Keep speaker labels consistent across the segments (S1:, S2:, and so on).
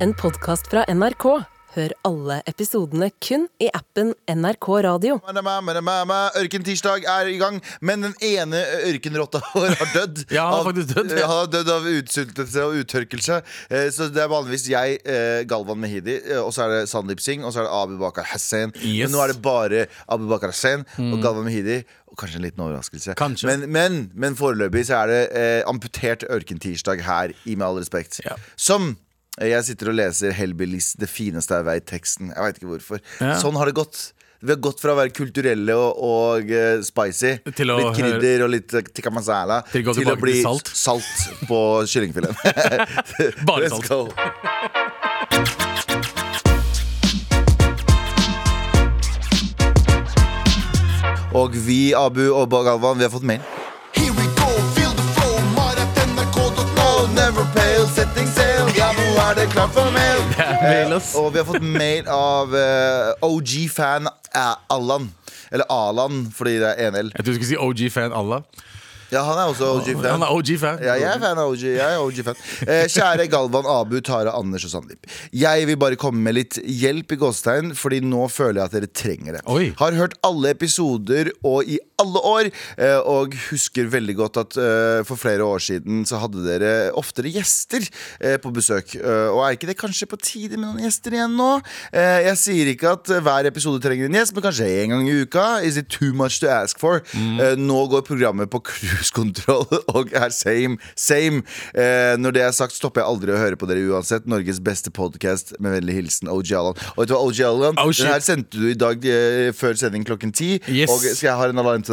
S1: en podkast fra NRK. Hør alle episodene kun i appen NRK Radio.
S2: Ørkentirsdag er i gang, men den ene ørkenrotta vår har dødd.
S3: Ja, han har
S2: Av-
S3: faktisk dødd, ja.
S2: Han har dødd av utsultelse og uttørkelse. Eh, Så det er vanligvis jeg, eh, Galvan Mehidi, eh, og så er det Sandeep Singh, og så er det Abu Bakar Hussein.
S3: Yes. Mm.
S2: Men nå er det bare Abu Bakar Hussein og Galvan Mehidi. Og kanskje en liten overraskelse.
S3: Kanskje.
S2: Men, men, men foreløpig så er det eh, amputert ørkentirsdag her, i med all respekt.
S3: Ja.
S2: Som eh, jeg sitter og leser Hellbillies 'Det fineste jeg veit'-teksten. Jeg veit ikke hvorfor.
S3: Ja.
S2: Sånn har det gått. Vi har gått fra å være kulturelle og, og eh, spicy,
S3: Til å
S2: litt
S3: høre-
S2: krydder og litt eh, tikka masala,
S3: Til å gå tilbake
S2: bli
S3: til salt.
S2: salt på kyllingfileten.
S3: Bare
S2: Let's
S3: salt.
S2: go. Og vi, Abu og Galvan, vi har fått mail. Here we go, feel the flow, maratnrk.no, never pale, setting sail, ja, nå er det klart for mail.
S3: mail, ass.
S2: Eh, og vi har fått mail av eh, OG-fan eh, Allan. Eller Alan, fordi det er 1L.
S3: Jeg tror du skulle si OG-fan Allah.
S2: Ja, han er også OG-fan.
S3: Han er OG-fan.
S2: Ja, jeg er fan av OG. Jeg er OG-fan. Eh, kjære Galvan, Abu, Tara, Anders og Sandeep. Jeg vil bare komme med litt hjelp i gåstegn, fordi nå føler jeg at dere trenger det.
S3: Oi.
S2: Har hørt alle episoder og i alle år, eh, og husker veldig godt at eh, for flere år siden så hadde dere oftere gjester eh, på besøk. Eh, og er ikke det kanskje på tide med noen gjester igjen nå? Eh, jeg sier ikke at eh, hver episode trenger en gjest, men kanskje en gang i uka. Is it too much to ask for?
S3: Mm.
S2: Eh, nå går programmet på cruisekontroll og er same, same. Eh, når det er sagt, stopper jeg aldri å høre på dere uansett. Norges beste podkast. Med vennlig hilsen OG Allan. Og vet du hva, OG Allan?
S3: Oh, shit.
S2: den her sendte du i dag eh, før sending klokken ti.
S3: Yes.
S2: Og skal jeg ha en alarm til deg?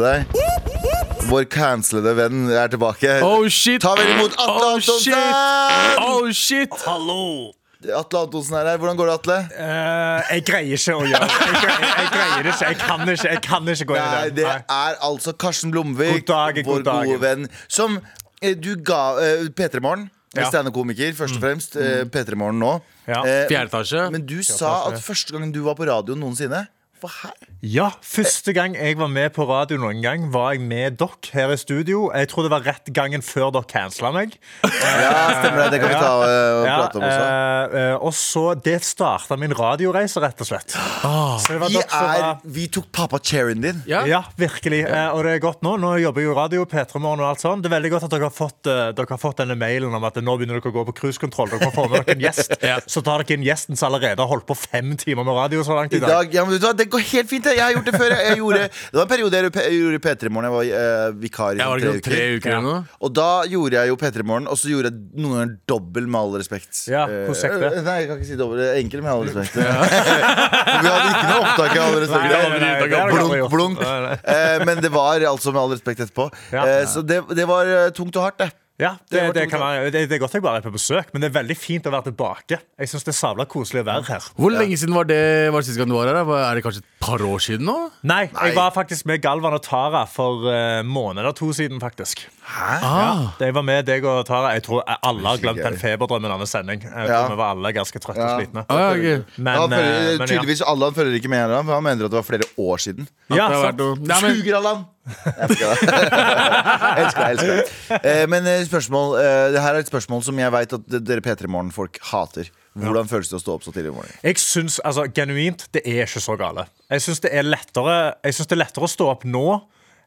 S2: Vår cancellede venn er tilbake.
S3: Oh shit!
S2: Ta vel imot Atle
S3: Oh shit!
S2: Antonsen!
S3: Oh shit!
S4: Hallo!
S2: Atle Antonsen er her. Hvordan går det, Atle?
S4: Eh, jeg greier ikke å gjøre det. Jeg greier, jeg greier det ikke. Jeg kan ikke, jeg kan ikke gå
S2: Nei,
S4: inn i
S2: det
S4: det.
S2: er altså Karsten Blomvik,
S4: God dag,
S2: vår
S4: god dag.
S2: gode venn, som eh, du ga eh, P3 Morgen.
S4: Ja.
S2: Steinerkomiker, først og fremst. eh, P3 Morgen nå.
S4: Ja.
S2: Eh,
S3: Fjerde etasje.
S2: men du sa at første gangen du var på radioen noensinne Hva her?
S4: Ja, Første gang jeg var med på radio, noen gang var jeg med dere her i studio. Jeg tror det var rett gangen før dere cancela meg.
S2: Ja, stemmer det. Det kan vi ta eh, og prate om også.
S4: eh, eh, og så Det starta min radioreise, rett og slett. Så det var
S2: Ah. Vi,
S4: dere som
S2: er,
S4: var-
S2: vi tok pappa-cherryen din.
S3: Ja.
S4: Ja, virkelig. Eh, og det er godt nå. Nå jobber jeg jo i radio, P3 Morgen og alt sånt. Det er veldig godt at dere har fått, eh, dere har fått denne mailen om at nå begynner dere å gå på cruisekontroll. Dere må få med dere en gjest.
S3: Ja.
S4: Så tar dere inn gjesten som allerede har holdt på fem timer med radio så langt
S2: I
S4: i dag.
S2: dag, ja, men vet du hva, Det går helt fint. Jeg, jeg har gjort det før. Jeg, jeg gjorde, det var en periode jeg, gjorde- jeg gjorde P3 Morgen. Jeg var eh, vikar i
S3: Jeg var
S2: tre
S3: ikke
S2: uker.
S3: tre uker eller noe.
S2: Og da gjorde jeg jo P3 Morgen, og så gjorde jeg noen ganger dobbel, med all respekt.
S4: Ja,
S2: Eh,
S4: hvordan gikk det?
S2: Nei, jeg kan ikke si dobbel. det er Enkel, med all respekt. For vi hadde ikke noe opptak av all respekt.
S3: Nei, nei, nei.
S4: det har dere aldri
S2: Blunk,
S4: gjort.
S2: blunk.
S4: Nei, nei.
S2: Eh, Men det var altså med all respekt etterpå.
S4: Ja.
S2: Eh, Så det, det var eh, tungt og hardt, det.
S4: Ja,
S2: Det
S4: det,
S2: var
S4: det,
S2: tungt,
S4: kan være, det, det er godt jeg bare er på besøk, men det er veldig fint å være tilbake. Jeg synes det er sabla koselig å være her.
S3: Hvor lenge siden var det var det sist gang du var her? da? Hva- Er det kanskje et par år siden nå?
S4: Nei,
S2: Nei.
S4: jeg var faktisk med Galvan og Tara for eh, måneder to siden, faktisk.
S2: Hæ?
S3: Ah.
S4: Jeg var med deg og Tara. Jeg tror alle har glemt den
S2: gøy.
S4: feberdrømmen av en sending. Jeg tror
S2: Ja.
S4: Vi var alle ganske trøtte
S2: Ja.
S4: og slitne.
S3: Ah, ja, ok.
S4: Men,
S2: han
S4: eh,
S2: følger,
S4: men ja.
S2: tydeligvis Allan følger ikke med, her, for han mener at det var flere år siden.
S4: Ja,
S3: Det har vært
S4: sant.
S3: noe- Nei, men,
S2: Suger, Allan! Jeg elsker deg. Jeg elsker deg, jeg elsker deg. Eh, Men eh, spørsmål eh, Det her er et spørsmål som jeg veit at dere P3 Morgen-folk hater. Hvordan føles det å stå opp så tidlig om morgenen?
S4: Jeg synes, altså, genuint, det er ikke så gale. Jeg syns det, er lettere- jeg synes det er lettere å stå opp nå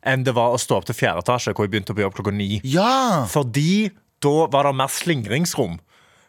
S4: enn det var å stå opp til fjerde etasje, hvor jeg begynte på jobb klokka ni.
S2: Ja!
S4: Fordi da var det mer slingringsrom.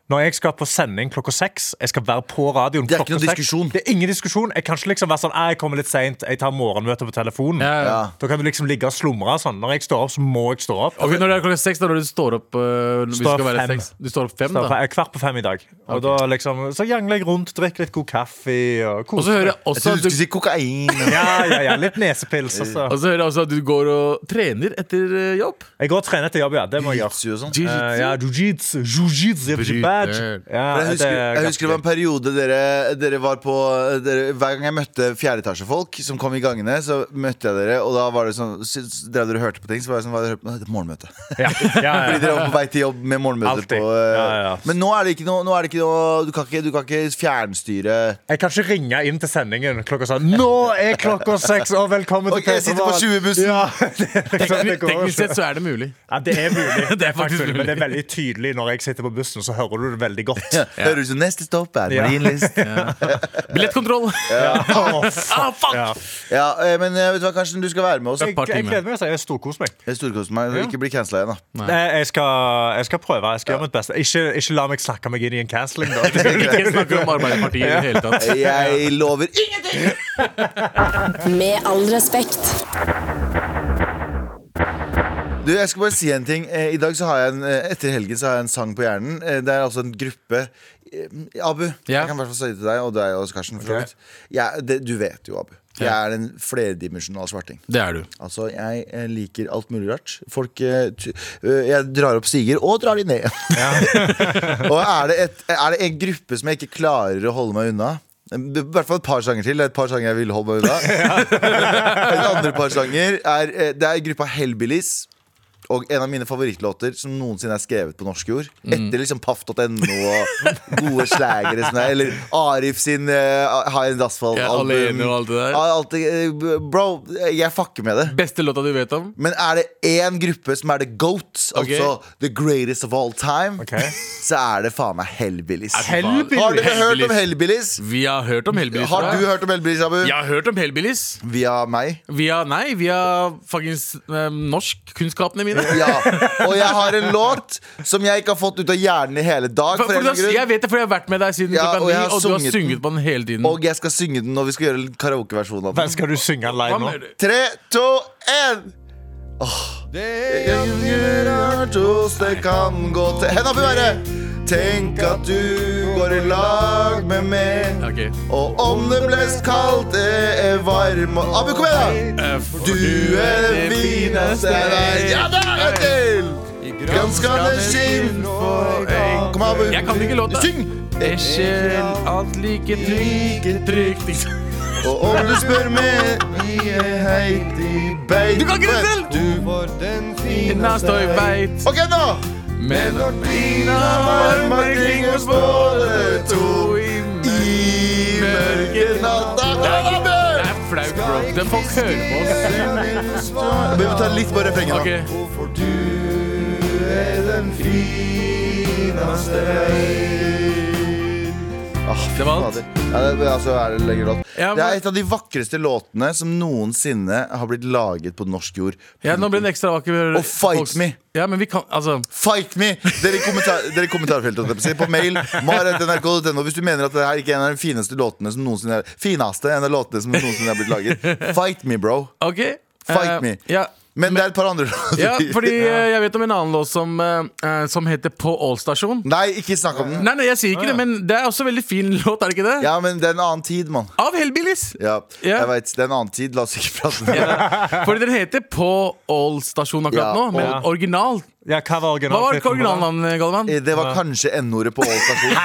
S4: Når jeg skal på sending klokka seks, jeg skal være på radioen
S2: Det er ikke
S4: klokka
S2: noen
S4: seks.
S2: diskusjon.
S4: Det er ingen diskusjon. Jeg kan ikke liksom være sånn «Nei, Jeg kommer litt seint, jeg tar morgenmøte på telefonen.
S3: ja, ja.
S2: Ja.
S4: Da kan du liksom ligge og slumre sånn. Når jeg står opp, så må jeg stå opp.
S3: Ok, Når det er klokka seks, da når du står opp øh, når vi
S4: Står
S3: skal være
S4: fem.
S3: seks. Du står opp fem,
S4: Så
S3: da?
S4: jeg er kvart på fem i dag. Og da liksom, Så jangler jeg rundt, drikker litt god kaffe
S3: Og
S4: og
S3: så
S4: koser
S3: hører jeg
S2: Jeg
S3: også
S2: trodde
S3: at
S2: du
S3: du,
S2: skulle si kokain.
S4: Ja, ja, ja, litt nesepils og så
S3: og så hører jeg også at du går og trener etter øh, jobb.
S4: Jeg går og trener etter jobb, ja, det må jeg
S2: Jiu-jitsu og
S4: gjøre
S2: sånn.
S3: Jiu-jitsu.
S4: Eh, ja, Jiu-jitsu, jiu-jitsu, jeg får ikke badge. ja,
S2: Jeg husker,
S4: er
S2: jeg husker det var en periode dere, dere var på dere, Hver gang jeg møtte fjerdeetasjefolk som kom i gangene, så møtte jeg dere, og da var det sånn s- Drev dere og hørte på ting, så var det sånn hva dere hørte på? Det er Morgenmøte.
S4: ja, ja,
S2: Fordi
S4: ja.
S2: dere var på vei til jobb med morgenmøte
S4: Alltid.
S2: på eh,
S4: Ja, ja.
S2: Men nå er det ikke noe, nå er det ikke ikke, noe, du kan ikke, du kan ikke fjernstyre
S4: Jeg kan ikke ringe inn til sendingen klokka sånn Nå er klokka seks, og velkommen
S2: Ok, jeg
S4: til
S2: sitter på
S4: Petermann.
S2: 20-bussen.
S4: Ja, det, er liksom- det går jo
S3: Teknisk
S4: ikke.
S3: sett så er det mulig.
S4: Ja, det er mulig.
S3: Det er faktisk
S4: Faktisk, Men
S3: mulig.
S4: det er veldig tydelig når jeg sitter på bussen, så hører du det veldig godt.
S2: Ja. Hører du så neste stopp er
S4: Ja.
S2: Marienlyst.
S3: Billettkontroll!
S4: Åh,
S3: ah, fuck!
S4: Ja.
S2: Ja, eh, men eh, vet du hva, Karsten, du skal være med oss.
S4: Jeg,
S3: par timer.
S4: jeg gleder meg, så jeg storkoser meg.
S2: Jeg storkoser meg. Ikke bli cancela igjen, da.
S3: Nei.
S4: Jeg, jeg, skal, jeg skal prøve. Jeg skal gjøre mitt beste. Ikke, ikke la meg snakke meg inn i en canceling. Da.
S3: Ikke snakke om Arbeiderpartiet i det hele tatt.
S2: Jeg lover ingenting!
S1: Med all respekt.
S2: Du, jeg skal bare si en ting. Eh, I dag så har jeg en, eh, Etter helgen så har jeg en sang på hjernen. Eh, Det er altså en gruppe eh, Abu,
S3: Ja.
S2: jeg kan i hvert fall si det til deg og deg også, Karsten. For så
S4: Ok.
S2: vidt. Jeg- det, du vet jo, Abu. Jeg er en flerdimensjonal svarting.
S3: Det er du.
S2: Altså, jeg eh, liker alt mulig rart. Folk eh, t eh, Jeg drar opp stiger, og drar de ned igjen. og er det, et, er det en gruppe som jeg ikke klarer å holde meg unna? I hvert fall et par sanger til. Et par sanger jeg vil holde meg unna. Et andre par sanger er, eh, Det er gruppa Hellbillies. Og en av mine favorittlåter som noensinne er skrevet på norsk jord.
S3: Mm.
S2: Etter liksom paff.no og gode slagere. sånn der, Eller Arif sin uh, High End
S3: Ja,
S2: Asphalt-album.
S3: alene og alt det der.
S2: Ja, alt det- eh, bro, jeg fucker med det.
S3: Beste låta du vet om?
S2: Men er det én gruppe som er the goat,
S3: Ok.
S2: altså the greatest of all time,
S4: Ok.
S2: så er det faen meg Hellbillies.
S4: Hellbillies.
S2: Har dere hørt om Hellbillies?
S3: Vi har hørt om Hellbillies.
S2: Har
S3: tror
S2: du
S3: jeg.
S2: hørt om Hellbillies, Abu?
S3: Jeg har hørt om Hellbillies.
S2: Via meg?
S3: Via, nei, via faktisk eh, norskkunnskapene mine.
S2: Ja. Og jeg har en låt som jeg ikke har fått ut av hjernen i hele dag.
S3: For,
S2: For en eller
S3: for du har,
S2: annen
S3: jeg
S2: grunn
S3: vet det, for jeg har vært med deg siden
S2: Ja, og
S3: klokka
S2: jeg
S3: ni,
S2: har
S3: og du har
S2: sunget den.
S3: sunget på den hele tiden.
S2: Og jeg skal synge den når vi skal gjøre en karaokeversjon av
S4: Men
S2: den.
S4: Skal du synge den live
S3: Hva
S4: nå?
S3: mener du?
S2: Tre, to, én! Angels, det kan gå til Hen opp i været! Tenk at du går i lag med meg.
S3: Ok.
S2: Og om det ble kaldt, det er varm og Abu, kom igjen, da! Du er det fineste jeg vet. Ja da, en til! Granskende skinn for eng Kom, Abu.
S3: Jeg kan ikke låta.
S2: Syng!
S3: Ikke alt like trygt, trygt liksom.
S2: Og om du spør meg, vi er heit i beit.
S3: Du kan ikke det selv!
S2: Du-
S3: Inna står veit,
S2: Ok, nå!
S3: men
S2: Dina varme kring oss både to i mørke natta. Der,
S3: Det
S2: Abu!
S3: er flaut, bro. Den folk hører på oss.
S2: Vi må ta litt på refrenget, da.
S3: Ok.
S2: For du er den fineste
S3: Det var alt.
S2: Ah, Ja, det, altså, er det, lenger låt.
S3: Ja, men-
S2: det er et av de vakreste låtene som noensinne har blitt laget på norsk jord.
S3: Ja, nå ble den ekstra vakker.
S2: Og fight
S3: Folks-
S2: me.
S3: Ja, men vi kan, altså
S2: Fight me! Dere i kommentar, dere i kommentarfeltet holdt jeg på å si, på mail. mar.nrk.no Hvis du mener at det her ikke er en av de fineste låtene som noensinne er Fineste en av låtene som noensinne er blitt laget. Fight me, bro.
S3: OK.
S2: Fight
S3: Eh,
S2: me.
S3: Ja,
S2: Men, det er et par andre låter.
S3: ja fordi eh, jeg vet om en annen låt som, eh, eh, som heter På Allstasjon.
S2: Nei, ikke snakk om den.
S3: Nei, nei, jeg sier ikke det, men det er også veldig fin låt, er det ikke det?
S2: Ja, men det er en annen tid, mann.
S3: Av Hellbillies.
S2: Ja,
S3: Ja.
S2: jeg vet, det er en annen tid. La oss ikke prate om det.
S3: Fordi den heter På Allstasjon
S2: Ja,
S3: akkurat nå, men
S4: og-
S3: original.
S4: Ja, hva var
S3: Hva var
S4: originaltitlen?
S3: originalnavnet, Galvan?
S2: Eh, Det var kanskje N-ordet på Ål stasjon.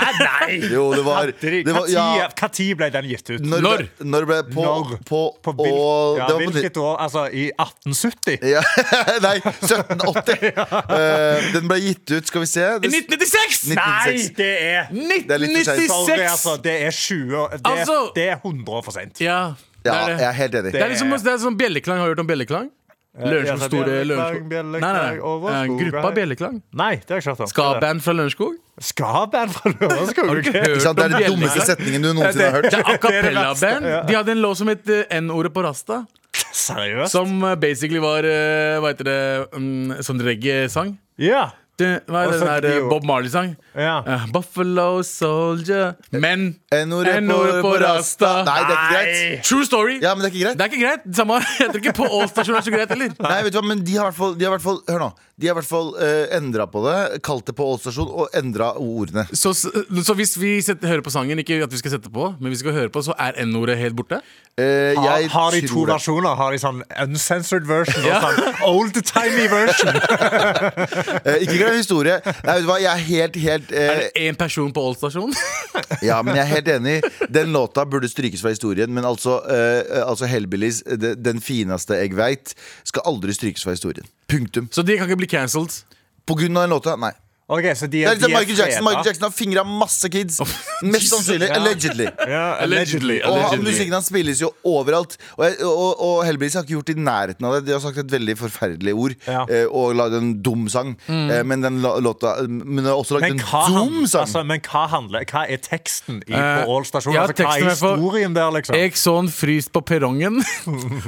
S4: Nei!
S2: Jo, det var, det var ja,
S4: Når ble den gitt ut?
S2: Når ble, når ble på,
S4: Når?
S2: på,
S4: På hvil,
S2: Ål
S4: ja,
S2: Det var på
S4: hvilket år? Altså, i 1870?
S2: ja, Nei, 1780. Eh, den ble gitt ut, skal vi se.
S3: I
S2: Det,
S3: 1996!
S2: Nitt-
S4: Nei,
S2: 1996.
S4: det er
S2: Det er litt for sent.
S4: Sorry,
S3: 1996!
S4: altså, det er 20 år det,
S3: Altså-
S4: det er 100 år for seint.
S3: Ja, det
S2: ja,
S3: er
S2: jeg
S3: det.
S2: er helt enig.
S3: Det er liksom det er sånn Bjelleklang. Har du hørt om Bjelleklang? Lørenskog
S4: Eh, ja,
S3: store
S4: Bjelleklang,
S3: Lørenskog
S4: Bjelleklang
S3: Nei, nei, nei.
S4: over
S3: Eh,
S4: skog.
S3: Gruppa Bjelleklang.
S4: Nei, det har jeg ikke hørt om.
S3: Ska-band fra Lørenskog.
S4: Skaband fra Lørenskog?
S3: Har du ikke
S4: ok.
S3: hørt
S2: Ikke sant? Det er
S3: om
S2: den dummeste
S3: Bjelleklang?
S2: setningen du noensinne har
S3: Det
S2: hørt.
S3: er a cappella-band. De hadde en låt som het eh, N-ordet på rasta.
S4: Seriøst?
S3: Som eh, basically var eh, Hva heter det mm, Sånn reggae-sang.
S4: Ja.
S3: Det- Hva
S4: Og
S3: er det
S4: så
S3: den der
S4: de
S3: eh,
S4: jo-
S3: Bob Marley-sang?
S4: sånn ja.
S3: Eh, Buffalo Soldier Men
S2: N-ordet
S3: N-ordet på rasta.
S2: Nei, det er ikke greit.
S4: Nei.
S3: True story!
S2: Ja, men det er ikke greit.
S3: Det er ikke greit. Samme heter ikke på All Stasjon er så greit heller.
S2: Nei, vet du hva, men de har i hvert fall- de har i hvert fall Hør nå. De har i hvert fall uh, endra på det, kalt det på Ål stasjon og endra ordene.
S3: Så, så så hvis vi setter, hører på sangen, ikke at vi skal sette på, men vi skal høre på, så er N-ordet helt borte?
S2: Eh,
S4: Har,
S2: jeg
S4: har de to
S2: tror det.
S4: versjoner? Har de sånn uncensored version og sånn old-timey version?
S2: Eh, ikke glem historie. Nei, vet du hva, jeg er helt, helt eh,
S3: Er det én person på All Stasjon?
S2: Ja, men jeg er helt enig. Den låta burde strykes fra historien. Men altså, eh, altså Hellbillies, det, den fineste jeg veit, skal aldri strykes fra historien. Punktum.
S3: Så de kan ikke bli cancelled.
S2: På grunn av den låta? Nei.
S4: Ok, så de
S2: Det
S4: er,
S2: er liksom
S4: de er
S2: Michael Jackson
S4: freda.
S2: Michael Jackson har fingra masse kids. Mest sannsynlig.
S4: Ja.
S2: Allegedly.
S4: Ja, allegedly.
S3: Allegedly.
S2: Og han,
S3: Allegedly.
S2: musikken hans spilles jo overalt. Og, jeg- og, og heldigvis har ikke gjort det i nærheten av det. De har sagt et veldig forferdelig ord
S4: Ja.
S2: eh, og lagd en dum sang. Eh, men den la- låta Men de har også lagd
S4: Men
S2: en
S4: hva, han,
S2: dum sang.
S4: altså, men hva handler Hva er teksten i,
S3: Eh,
S4: på Ål stasjon?
S3: ja,
S4: altså, hva
S3: teksten
S4: er
S3: er for-
S4: historien der, liksom?
S3: Jeg så han fryst på perrongen.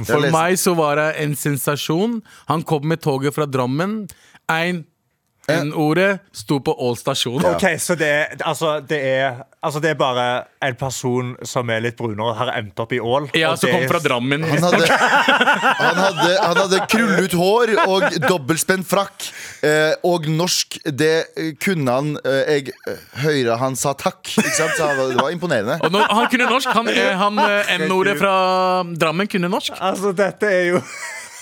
S3: For
S2: leser-
S3: meg så var det en sensasjon. Han kom med toget fra Drammen. Ein N-ordet sto på Ål stasjon.
S4: Ok, så det er, altså, det er Altså, det er bare en person som er litt brunere og har endt opp i Ål.
S3: Ja,
S4: og
S3: som
S4: det
S3: kom
S4: er-
S3: fra Drammen.
S2: Han hadde, han, hadde, han hadde krullet hår og dobbeltspent frakk. Eh, og norsk, det eh, kunne han eh, Jeg eh, høyre han sa takk. Ikke sant? Så han, var- det var imponerende.
S3: Og nå, han kunne norsk. Han, eh, han eh, N-ordet fra Drammen kunne norsk.
S4: Altså, dette er jo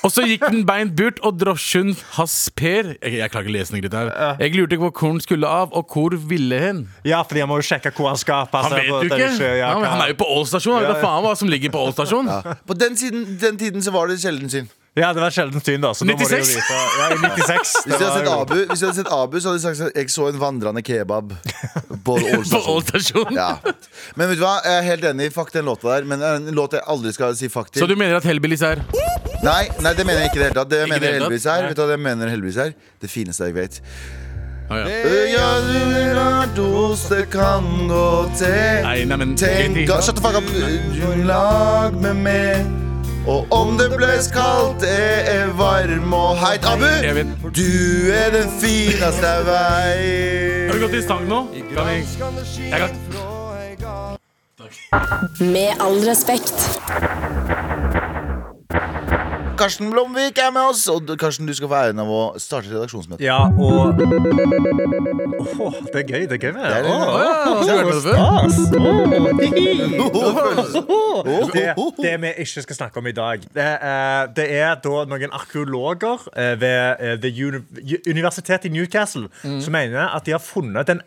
S3: Og så gikk den beint burt, og drosjen hans Per Jeg, jeg klarer ikke lesning litt her. Jeg lurte ikke hvor hvor han skulle av, og hvor ville hen.
S4: Ja, fordi jeg må jo sjekke altså, hvor han skal passe
S3: Han vet
S4: på
S3: jo
S4: at det
S3: ikke.
S4: ja,
S3: Han,
S4: hva-
S3: han er jo på Ål stasjon. Han vet da faen hva som ligger på Ål stasjon.
S2: På den, siden, den tiden så var det sjelden syn.
S4: ja, det var sjelden syn, da. Så
S3: 96.
S4: Da må du jo vite. Ja, i 96.
S2: Hvis de hadde
S4: det
S2: sett
S4: var jo-
S2: Abu, hvis de hadde sett Abu så hadde de sagt at jeg så en vandrende kebab. På Ål
S3: På Ål
S2: stasjon.
S3: stasjon.
S2: Ja. Men vet du hva, jeg er helt enig. Fuck den låta der. Men det er en låt jeg aldri skal si fuck til.
S3: Så du mener at Hellbillies er
S2: Nei, nei, det mener jeg ikke i det hele tatt. Det jeg
S3: Ikke i det
S2: mener
S3: hele
S2: Elvis
S3: tatt?
S2: her. Vet du hva det jeg mener Elvis her? Det fineste jeg vet.
S3: Å, ja.
S2: Ja, du vil ha dos, det kan gå til.
S3: Nei, nei, men
S2: Tenk da, Shut the fuck up. Du Lag med meg. Og om det ble kaldt, jeg er varm og heit. Abu,
S3: Jeg vet.
S2: du er den fineste jeg
S3: Har du
S2: veit.
S3: gått i stang nå? Kan vi... Jeg kan...
S1: Med all respekt.
S2: Karsten Blomvik er med oss. Og du- Karsten, du skal få æren av å starte redaksjonsmøtet.
S4: Ja, og Åh, Det er gøy. Det er gøy med
S2: Det er
S4: det.
S2: det.
S4: Åh,
S3: Å, ja, har du hørt om det før?
S4: stas. Åh, hihi.
S2: Oh,
S4: det, det vi ikke skal snakke om i dag, det, er- det er da noen arkeologer eh, ved eh, The Uni Universitetet i Newcastle som mener at de har funnet den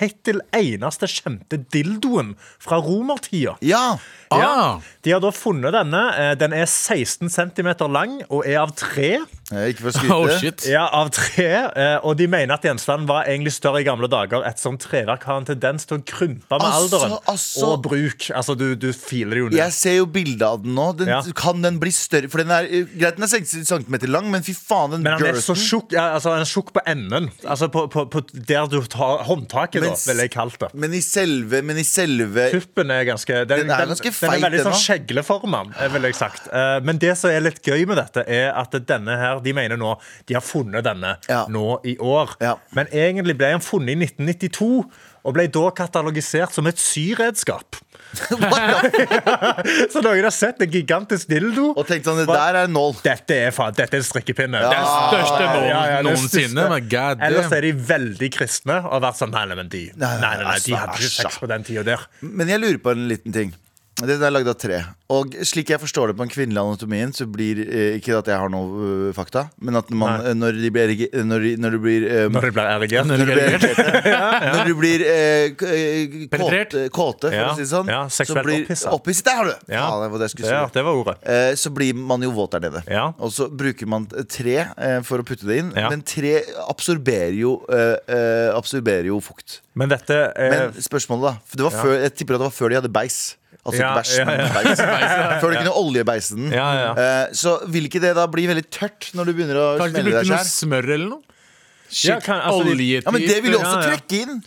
S4: hittil eneste kjente dildoen fra romertida.
S2: Ja.
S3: Ah.
S4: De har da funnet denne. Eh, Den er 16 cm lang og er av tre.
S2: Eh, Ikke for å
S3: Oh,
S2: skryte.
S3: shit.
S4: Ja, av tre. eh, Og de mener at gjenstanden var egentlig større i gamle dager, ettersom treverk har en tendens til å krympe med
S2: Altså,
S4: alderen
S2: altså.
S4: og bruk. Altså, du, du filer det jo ned.
S2: Jeg ser jo bildet av den nå. Den,
S4: Ja.
S2: Kan den bli større? For den er eh, greit, den er 60 cm lang, men fy faen, den
S4: Men han er så
S2: girthen-
S4: tjukk ja, altså, han er tjukk på enden. Altså på, på, på der du tar håndtaket, da,
S2: Men s-
S4: ville jeg kalt det.
S2: Men i selve, men i selve
S4: Tuppen er ganske Den,
S2: Den er ganske
S4: den
S2: feit,
S4: er veldig
S2: den
S4: sånn
S2: da.
S4: skjegleformet, eh, ville jeg sagt. Eh, Men det som er litt gøy med dette, er at denne her De mener nå de har funnet denne
S2: Ja.
S4: nå i år.
S2: Ja.
S4: Men egentlig ble han funnet i 1992, og ble da katalogisert som et syredskap.
S2: What the-
S4: Så noen har sett en gigantisk dildo.
S2: Og tenkte han, det der er en nål.
S4: Dette er, faen, dette er en strikkepinne.
S3: Den største
S4: Ja,
S3: noen,
S4: ja, ja, det
S3: noensinne.
S4: siste.
S3: Men god
S4: Ellers
S3: damn.
S4: er de veldig kristne og har vært sånn Nei, nei, men de, nei, nei, nei,
S2: altså,
S4: de hadde ikke
S2: æsj,
S4: sex på den tida der.
S2: Men jeg lurer på en liten ting. Den er lagd av tre. Og slik jeg forstår det på den kvinnelige anatomien, så blir eh, ikke at jeg har noe eh, fakta, men at man, eh, når de blir erige- eh, Når de, når de blir eh,
S4: Når de blir erigert.
S2: når de blir, erigerte, når de blir eh, k- eh,
S3: Penetrert.
S2: kåte, kåte, for
S4: Ja,
S2: å si det sånn,
S4: ja,
S2: så
S4: seksuelt
S2: blir
S4: opphisset.
S2: opphisset Der har du!
S4: Ja,
S2: Faen, det var det jeg skulle si.
S4: Ja, det var ordet.
S2: Eh, så blir man jo våt der nede.
S4: Ja.
S2: Og så bruker man tre eh, for å putte det inn.
S4: Ja.
S2: Men tre absorberer jo, eh, eh, absorberer jo fukt.
S4: Men dette eh,
S2: Men spørsmålet, da. For det var før, jeg tipper at det var før de hadde beis. Altså
S4: Ja,
S2: ikke bæsj,
S4: ja, ja.
S2: men beis. Før de kunne oljebeise den.
S4: Ja, ja, ja.
S2: Eh, så vil ikke det da bli veldig tørt når du begynner å
S3: Kanskje de
S2: smelle
S3: brukte
S2: deg
S3: noe
S2: sjæl?
S3: smør eller noe? Shit,
S4: Ja, kan- altså, de-
S3: oljetyp.
S2: Ja, men det vil jo også
S4: Ja, ja.
S2: trekke inn.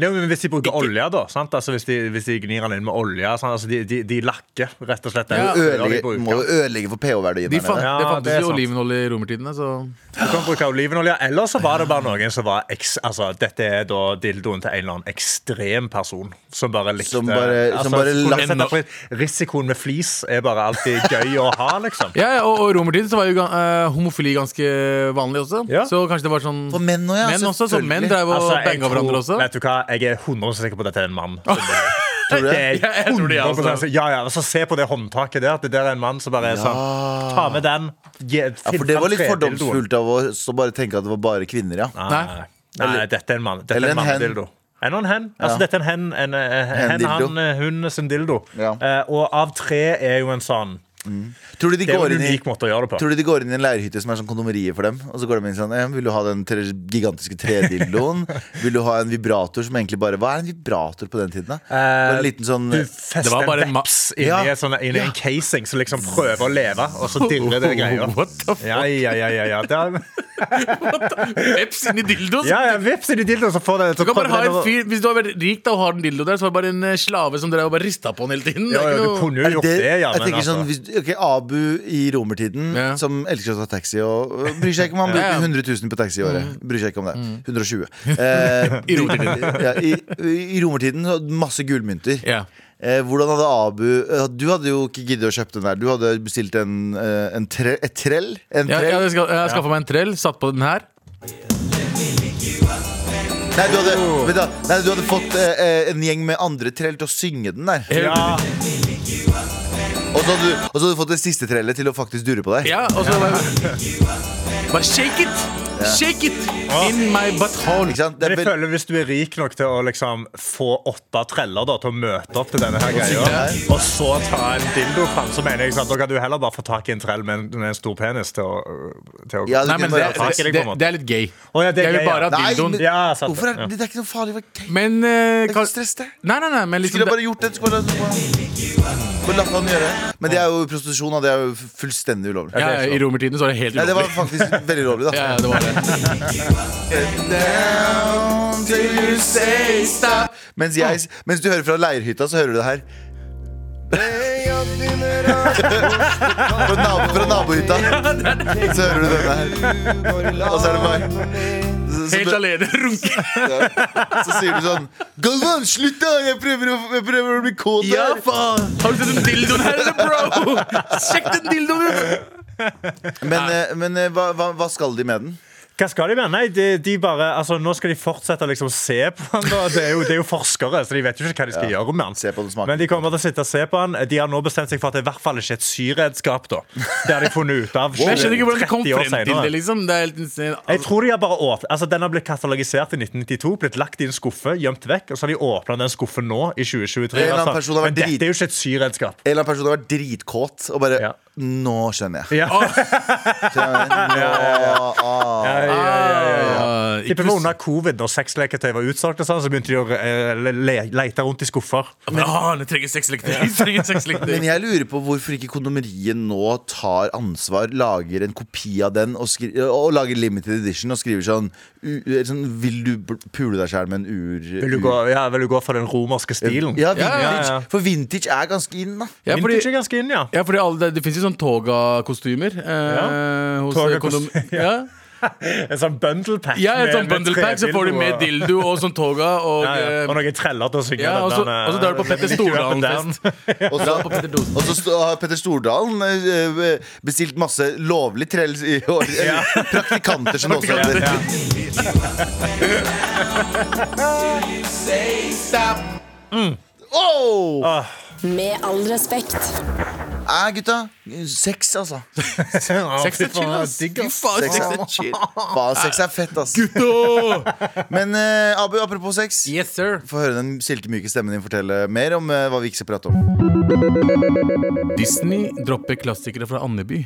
S4: ja, men Hvis de bruker olje, da. Sant? Altså, hvis, de, hvis de gnir den inn med olje. Sant? Altså, de, de, de lakker rett og slett den.
S3: Ja.
S4: olja de
S2: Ødelegge,
S4: bruker.
S2: må jo ødelegge for pH-verdien
S3: De
S2: der
S3: fant,
S2: nede.
S4: Ja,
S3: det fantes
S4: det er
S3: jo
S4: sant.
S3: olivenolje i romertidene, så
S4: Du kan bruke olivenolje. Eller så var det bare noen som var eks, altså, Dette er da dildoen til en eller annen ekstrem person som bare likte Altså,
S2: Som bare- som bare
S4: kunne
S2: lagt-
S4: sette pris- Risikoen med flis er bare alltid gøy å ha, liksom.
S3: Ja, ja, og, og i romertiden så var jo ga- eh, homofili ganske vanlig også.
S4: Ja.
S3: Så kanskje det var sånn
S2: For menn også, ja,
S3: Menn også, så
S2: selvfølgelig.
S3: menn drev og
S4: Altså, jeg
S3: banga
S4: tror-
S3: hverandre også.
S4: Vet du hva, jeg er 100 sikker på at dette er en mann.
S2: Tror du det?
S4: Det er
S3: Ja, jeg tror det, ja,
S4: 100%
S3: altså.
S4: Ja, ja, altså, Se på det håndtaket der. at Det der er en mann som bare er sånn Ta med den. Gi,
S2: Ja, for det var litt
S4: finn fram tredildoen.
S2: fordomsfullt av oss å bare tenke at det var bare kvinner, ja.
S4: Nei. Nei, dette er en mann. Dette
S2: Eller
S4: er en
S2: en hen.
S4: mannedildo. Eller en hen.
S2: Ja.
S4: Altså, dette er en hen, en, eh, hen,
S2: Hen-dildo.
S4: han, eh, hun sin dildo.
S2: Ja.
S4: Eh, og av tre er jo en sånn
S2: Tror du de
S4: Det er jo
S2: går
S4: en
S2: inn i
S4: unik måte å gjøre det på.
S2: Tror du de går inn i en leirhytte som er sånn kondomeriet for dem? Og så går de inn sånn eh, Vil du ha den tre, gigantiske tredildoen? Vil du ha en vibrator som egentlig bare Hva er en vibrator på den tiden, da? Bare en liten sånn
S4: Du
S2: eh,
S3: Det
S4: fester
S3: var bare
S4: en
S3: en ma-
S4: veps inni
S2: Ja.
S4: en sånn- inni en casing som liksom prøver å leve, og så dirrer det greier.
S3: What the fuck?
S4: Ja, ja, ja, ja, ja. Det er,
S3: Veps inn i dildoen.
S4: ja, ja vips inni dildoen, så får det så
S3: Du kan bare ha
S4: prøver
S3: en
S4: den å-
S3: fyr, Hvis du har vært rik da og har en dildo der, så var det bare en eh, slave som drev og bare rista på den hele tiden. Det er
S4: Ja, ja,
S3: ikke
S4: du
S3: noe-
S4: kunne jo gjort
S2: det,
S4: det, ja.
S2: jeg
S4: Men,
S2: tenker sånn
S4: altså.
S2: hvis, Ok, Abu i romertiden,
S3: Ja.
S2: som elsker å ta taxi og og bryr seg ikke om han
S3: Ja, ja.
S2: bruker 100 000 på taxi i året. Bryr seg ikke om det. 120. Eh,
S3: I romertiden.
S2: ja, i, I romertiden så hadde du masse gullmynter.
S3: Ja.
S2: Eh, hvordan hadde Abu eh, Du hadde jo ikke giddet å kjøpe den der. Du hadde bestilt en, eh, en tre, et trell. En
S3: Ja,
S2: trell.
S3: jeg skal- jeg skaffa meg en trell, satt på den her.
S2: Nei, du hadde, vent da, nei, du hadde fått eh, eh, en gjeng med andre trell til å synge den der.
S4: Ja,
S2: Og så hadde, du- og så hadde du fått det siste trellet til å faktisk dure på deg.
S3: Ja, og så bare, bare shake it! Shake it in my butthole.
S2: Ikke sant? Det er
S4: men jeg
S2: vel-
S4: føler Hvis du er rik nok til å liksom få åtte treller da, til å møte opp til denne her
S2: synge
S4: greia,
S2: her.
S4: og så ta en dildo fram, så mener jeg sant, da kan du heller bare få tak i en trell med en, med en stor penis til å, til å
S2: Ja, du
S3: Nei, men
S2: kunne
S3: det,
S2: bare-
S4: ta i
S3: det,
S4: det,
S3: det,
S4: på en måte.
S3: det er litt gay.
S4: Å, ja, det er
S3: jeg vil
S4: gay,
S3: bare ha
S2: Nei,
S3: dildoen.
S2: men-
S4: Ja, sant det,
S2: Hvorfor er
S4: ja.
S2: det, det er ikke noe farlig å være gay?
S3: Men eh,
S2: Det er
S3: kan,
S2: ikke stress, det.
S3: Nei, nei, nei, men liksom
S2: Skulle jeg
S3: det-
S2: bare gjort det, skulle jeg bare, bare latt han gjøre det. Men det er jo prostitusjon, da. Det er jo fullstendig ulovlig.
S3: ja, ja, I romertiden så var det helt
S2: Nei, det var
S3: ulovlig.
S2: faktisk veldig ulovlig, da.
S3: Ja, ja, det var det.
S2: Down till you say stop. Mens, jeg, mens du hører fra leirhytta, så hører du det her. Fra, nabo, fra nabohytta så hører du denne her. Og så er det meg. Så, så,
S3: Helt alene. Runke.
S2: så sier du sånn Galvan, slutt, da! Jeg prøver å, jeg prøver å bli kåt
S3: Ja,
S2: her.
S3: faen! Har du sett den dildoen her, eller, bro? Sjekk den dildoen ut!
S2: Men, eh, men eh, hva, hva, hva skal de med den?
S4: Hva skal de med? Nei, de, de bare, altså, nå skal de fortsette å liksom se på han da. Det er, jo, det er jo forskere, så de vet jo ikke hva de skal gjøre med han.
S2: Se på den smaken.
S4: Men de kommer til å sitte og se på han. De har nå bestemt seg for at det i hvert fall ikke er et syredskap. da. Det har de funnet ut av
S3: Men Jeg skjønner ikke hvordan de kom
S4: 30 år
S3: frem til
S4: senere.
S3: det, liksom. Det er helt insane.
S4: Jeg tror de har bare åpnet, altså Den har blitt katalogisert i 1992, blitt lagt i en skuffe, gjemt vekk. Og så har de åpna den skuffen nå, i 2023.
S2: En eller annen
S4: altså.
S2: person har vært
S4: Men
S2: drit-
S4: dette er jo ikke et syredskap.
S2: En eller annen person har vært dritkåt og bare
S4: Ja.
S2: Nå skjønner jeg.
S4: Ja.
S2: Skjønner jeg. Nå, ah.
S4: Ja, ja, ja, ja, ja.
S3: Ah,
S4: Tipper
S3: ikke
S4: det var under covid, når sexleketøy var utsolgt, og sånn, så begynte de å eh, le- lete rundt i skuffer.
S3: Ah, det trenger sexlekter. Det trenger sexlekter.
S2: Men jeg lurer på hvorfor ikke kondomeriet nå tar ansvar, lager en kopi av den og, skri og lager limited edition og skriver sånn, u eller sånn Vil du b- pule deg sjæl med en ur...
S4: Vil du, gå, ja, vil du gå for den romerske stilen?
S2: Ja, vintage.
S4: ja, ja.
S2: For vintage er ganske in, da.
S3: Ja, fordi-
S4: Vintage er ganske inn, ja.
S3: Ja, fordi alle, det, det finnes jo sånn toga-kostymer. Eh, hos
S4: Toga-kos-
S3: kondom... ja.
S4: En sånn bundle pack.
S3: ja, et sånn
S4: med- med
S3: bundle pack, så får du med
S4: tredildo og-
S3: dildo og sånn toga. Og,
S4: Ja, ja.
S3: eh,
S4: Og noen treller til å synge
S3: ja, og så-
S4: der, eh,
S3: og så drar du på Petter
S4: Let me do up and
S3: Stordalen-fest.
S4: down.
S2: Og så
S3: på Petter Dos-
S2: og så sto- har Petter Stordalen eh, eh, bestilt masse lovlig trell i år.
S4: Ja.
S2: Eller Praktikanter, som det også heter.
S4: Ja.
S2: Oh!
S3: Ah.
S1: Med all respekt.
S2: Æ, gutta. Sex, altså.
S3: Sex er chill, ass. Fy faen,
S2: Sex
S3: sex
S2: er-
S3: er chill.
S2: Faen, sex er fett, ass.
S3: Åh!
S2: Men eh, Abu, apropos sex.
S3: Yes, sir.
S2: Få høre den silkemyke stemmen din fortelle mer om eh, hva vi ikke skal prate om.
S3: Disney dropper klassikere fra Andeby.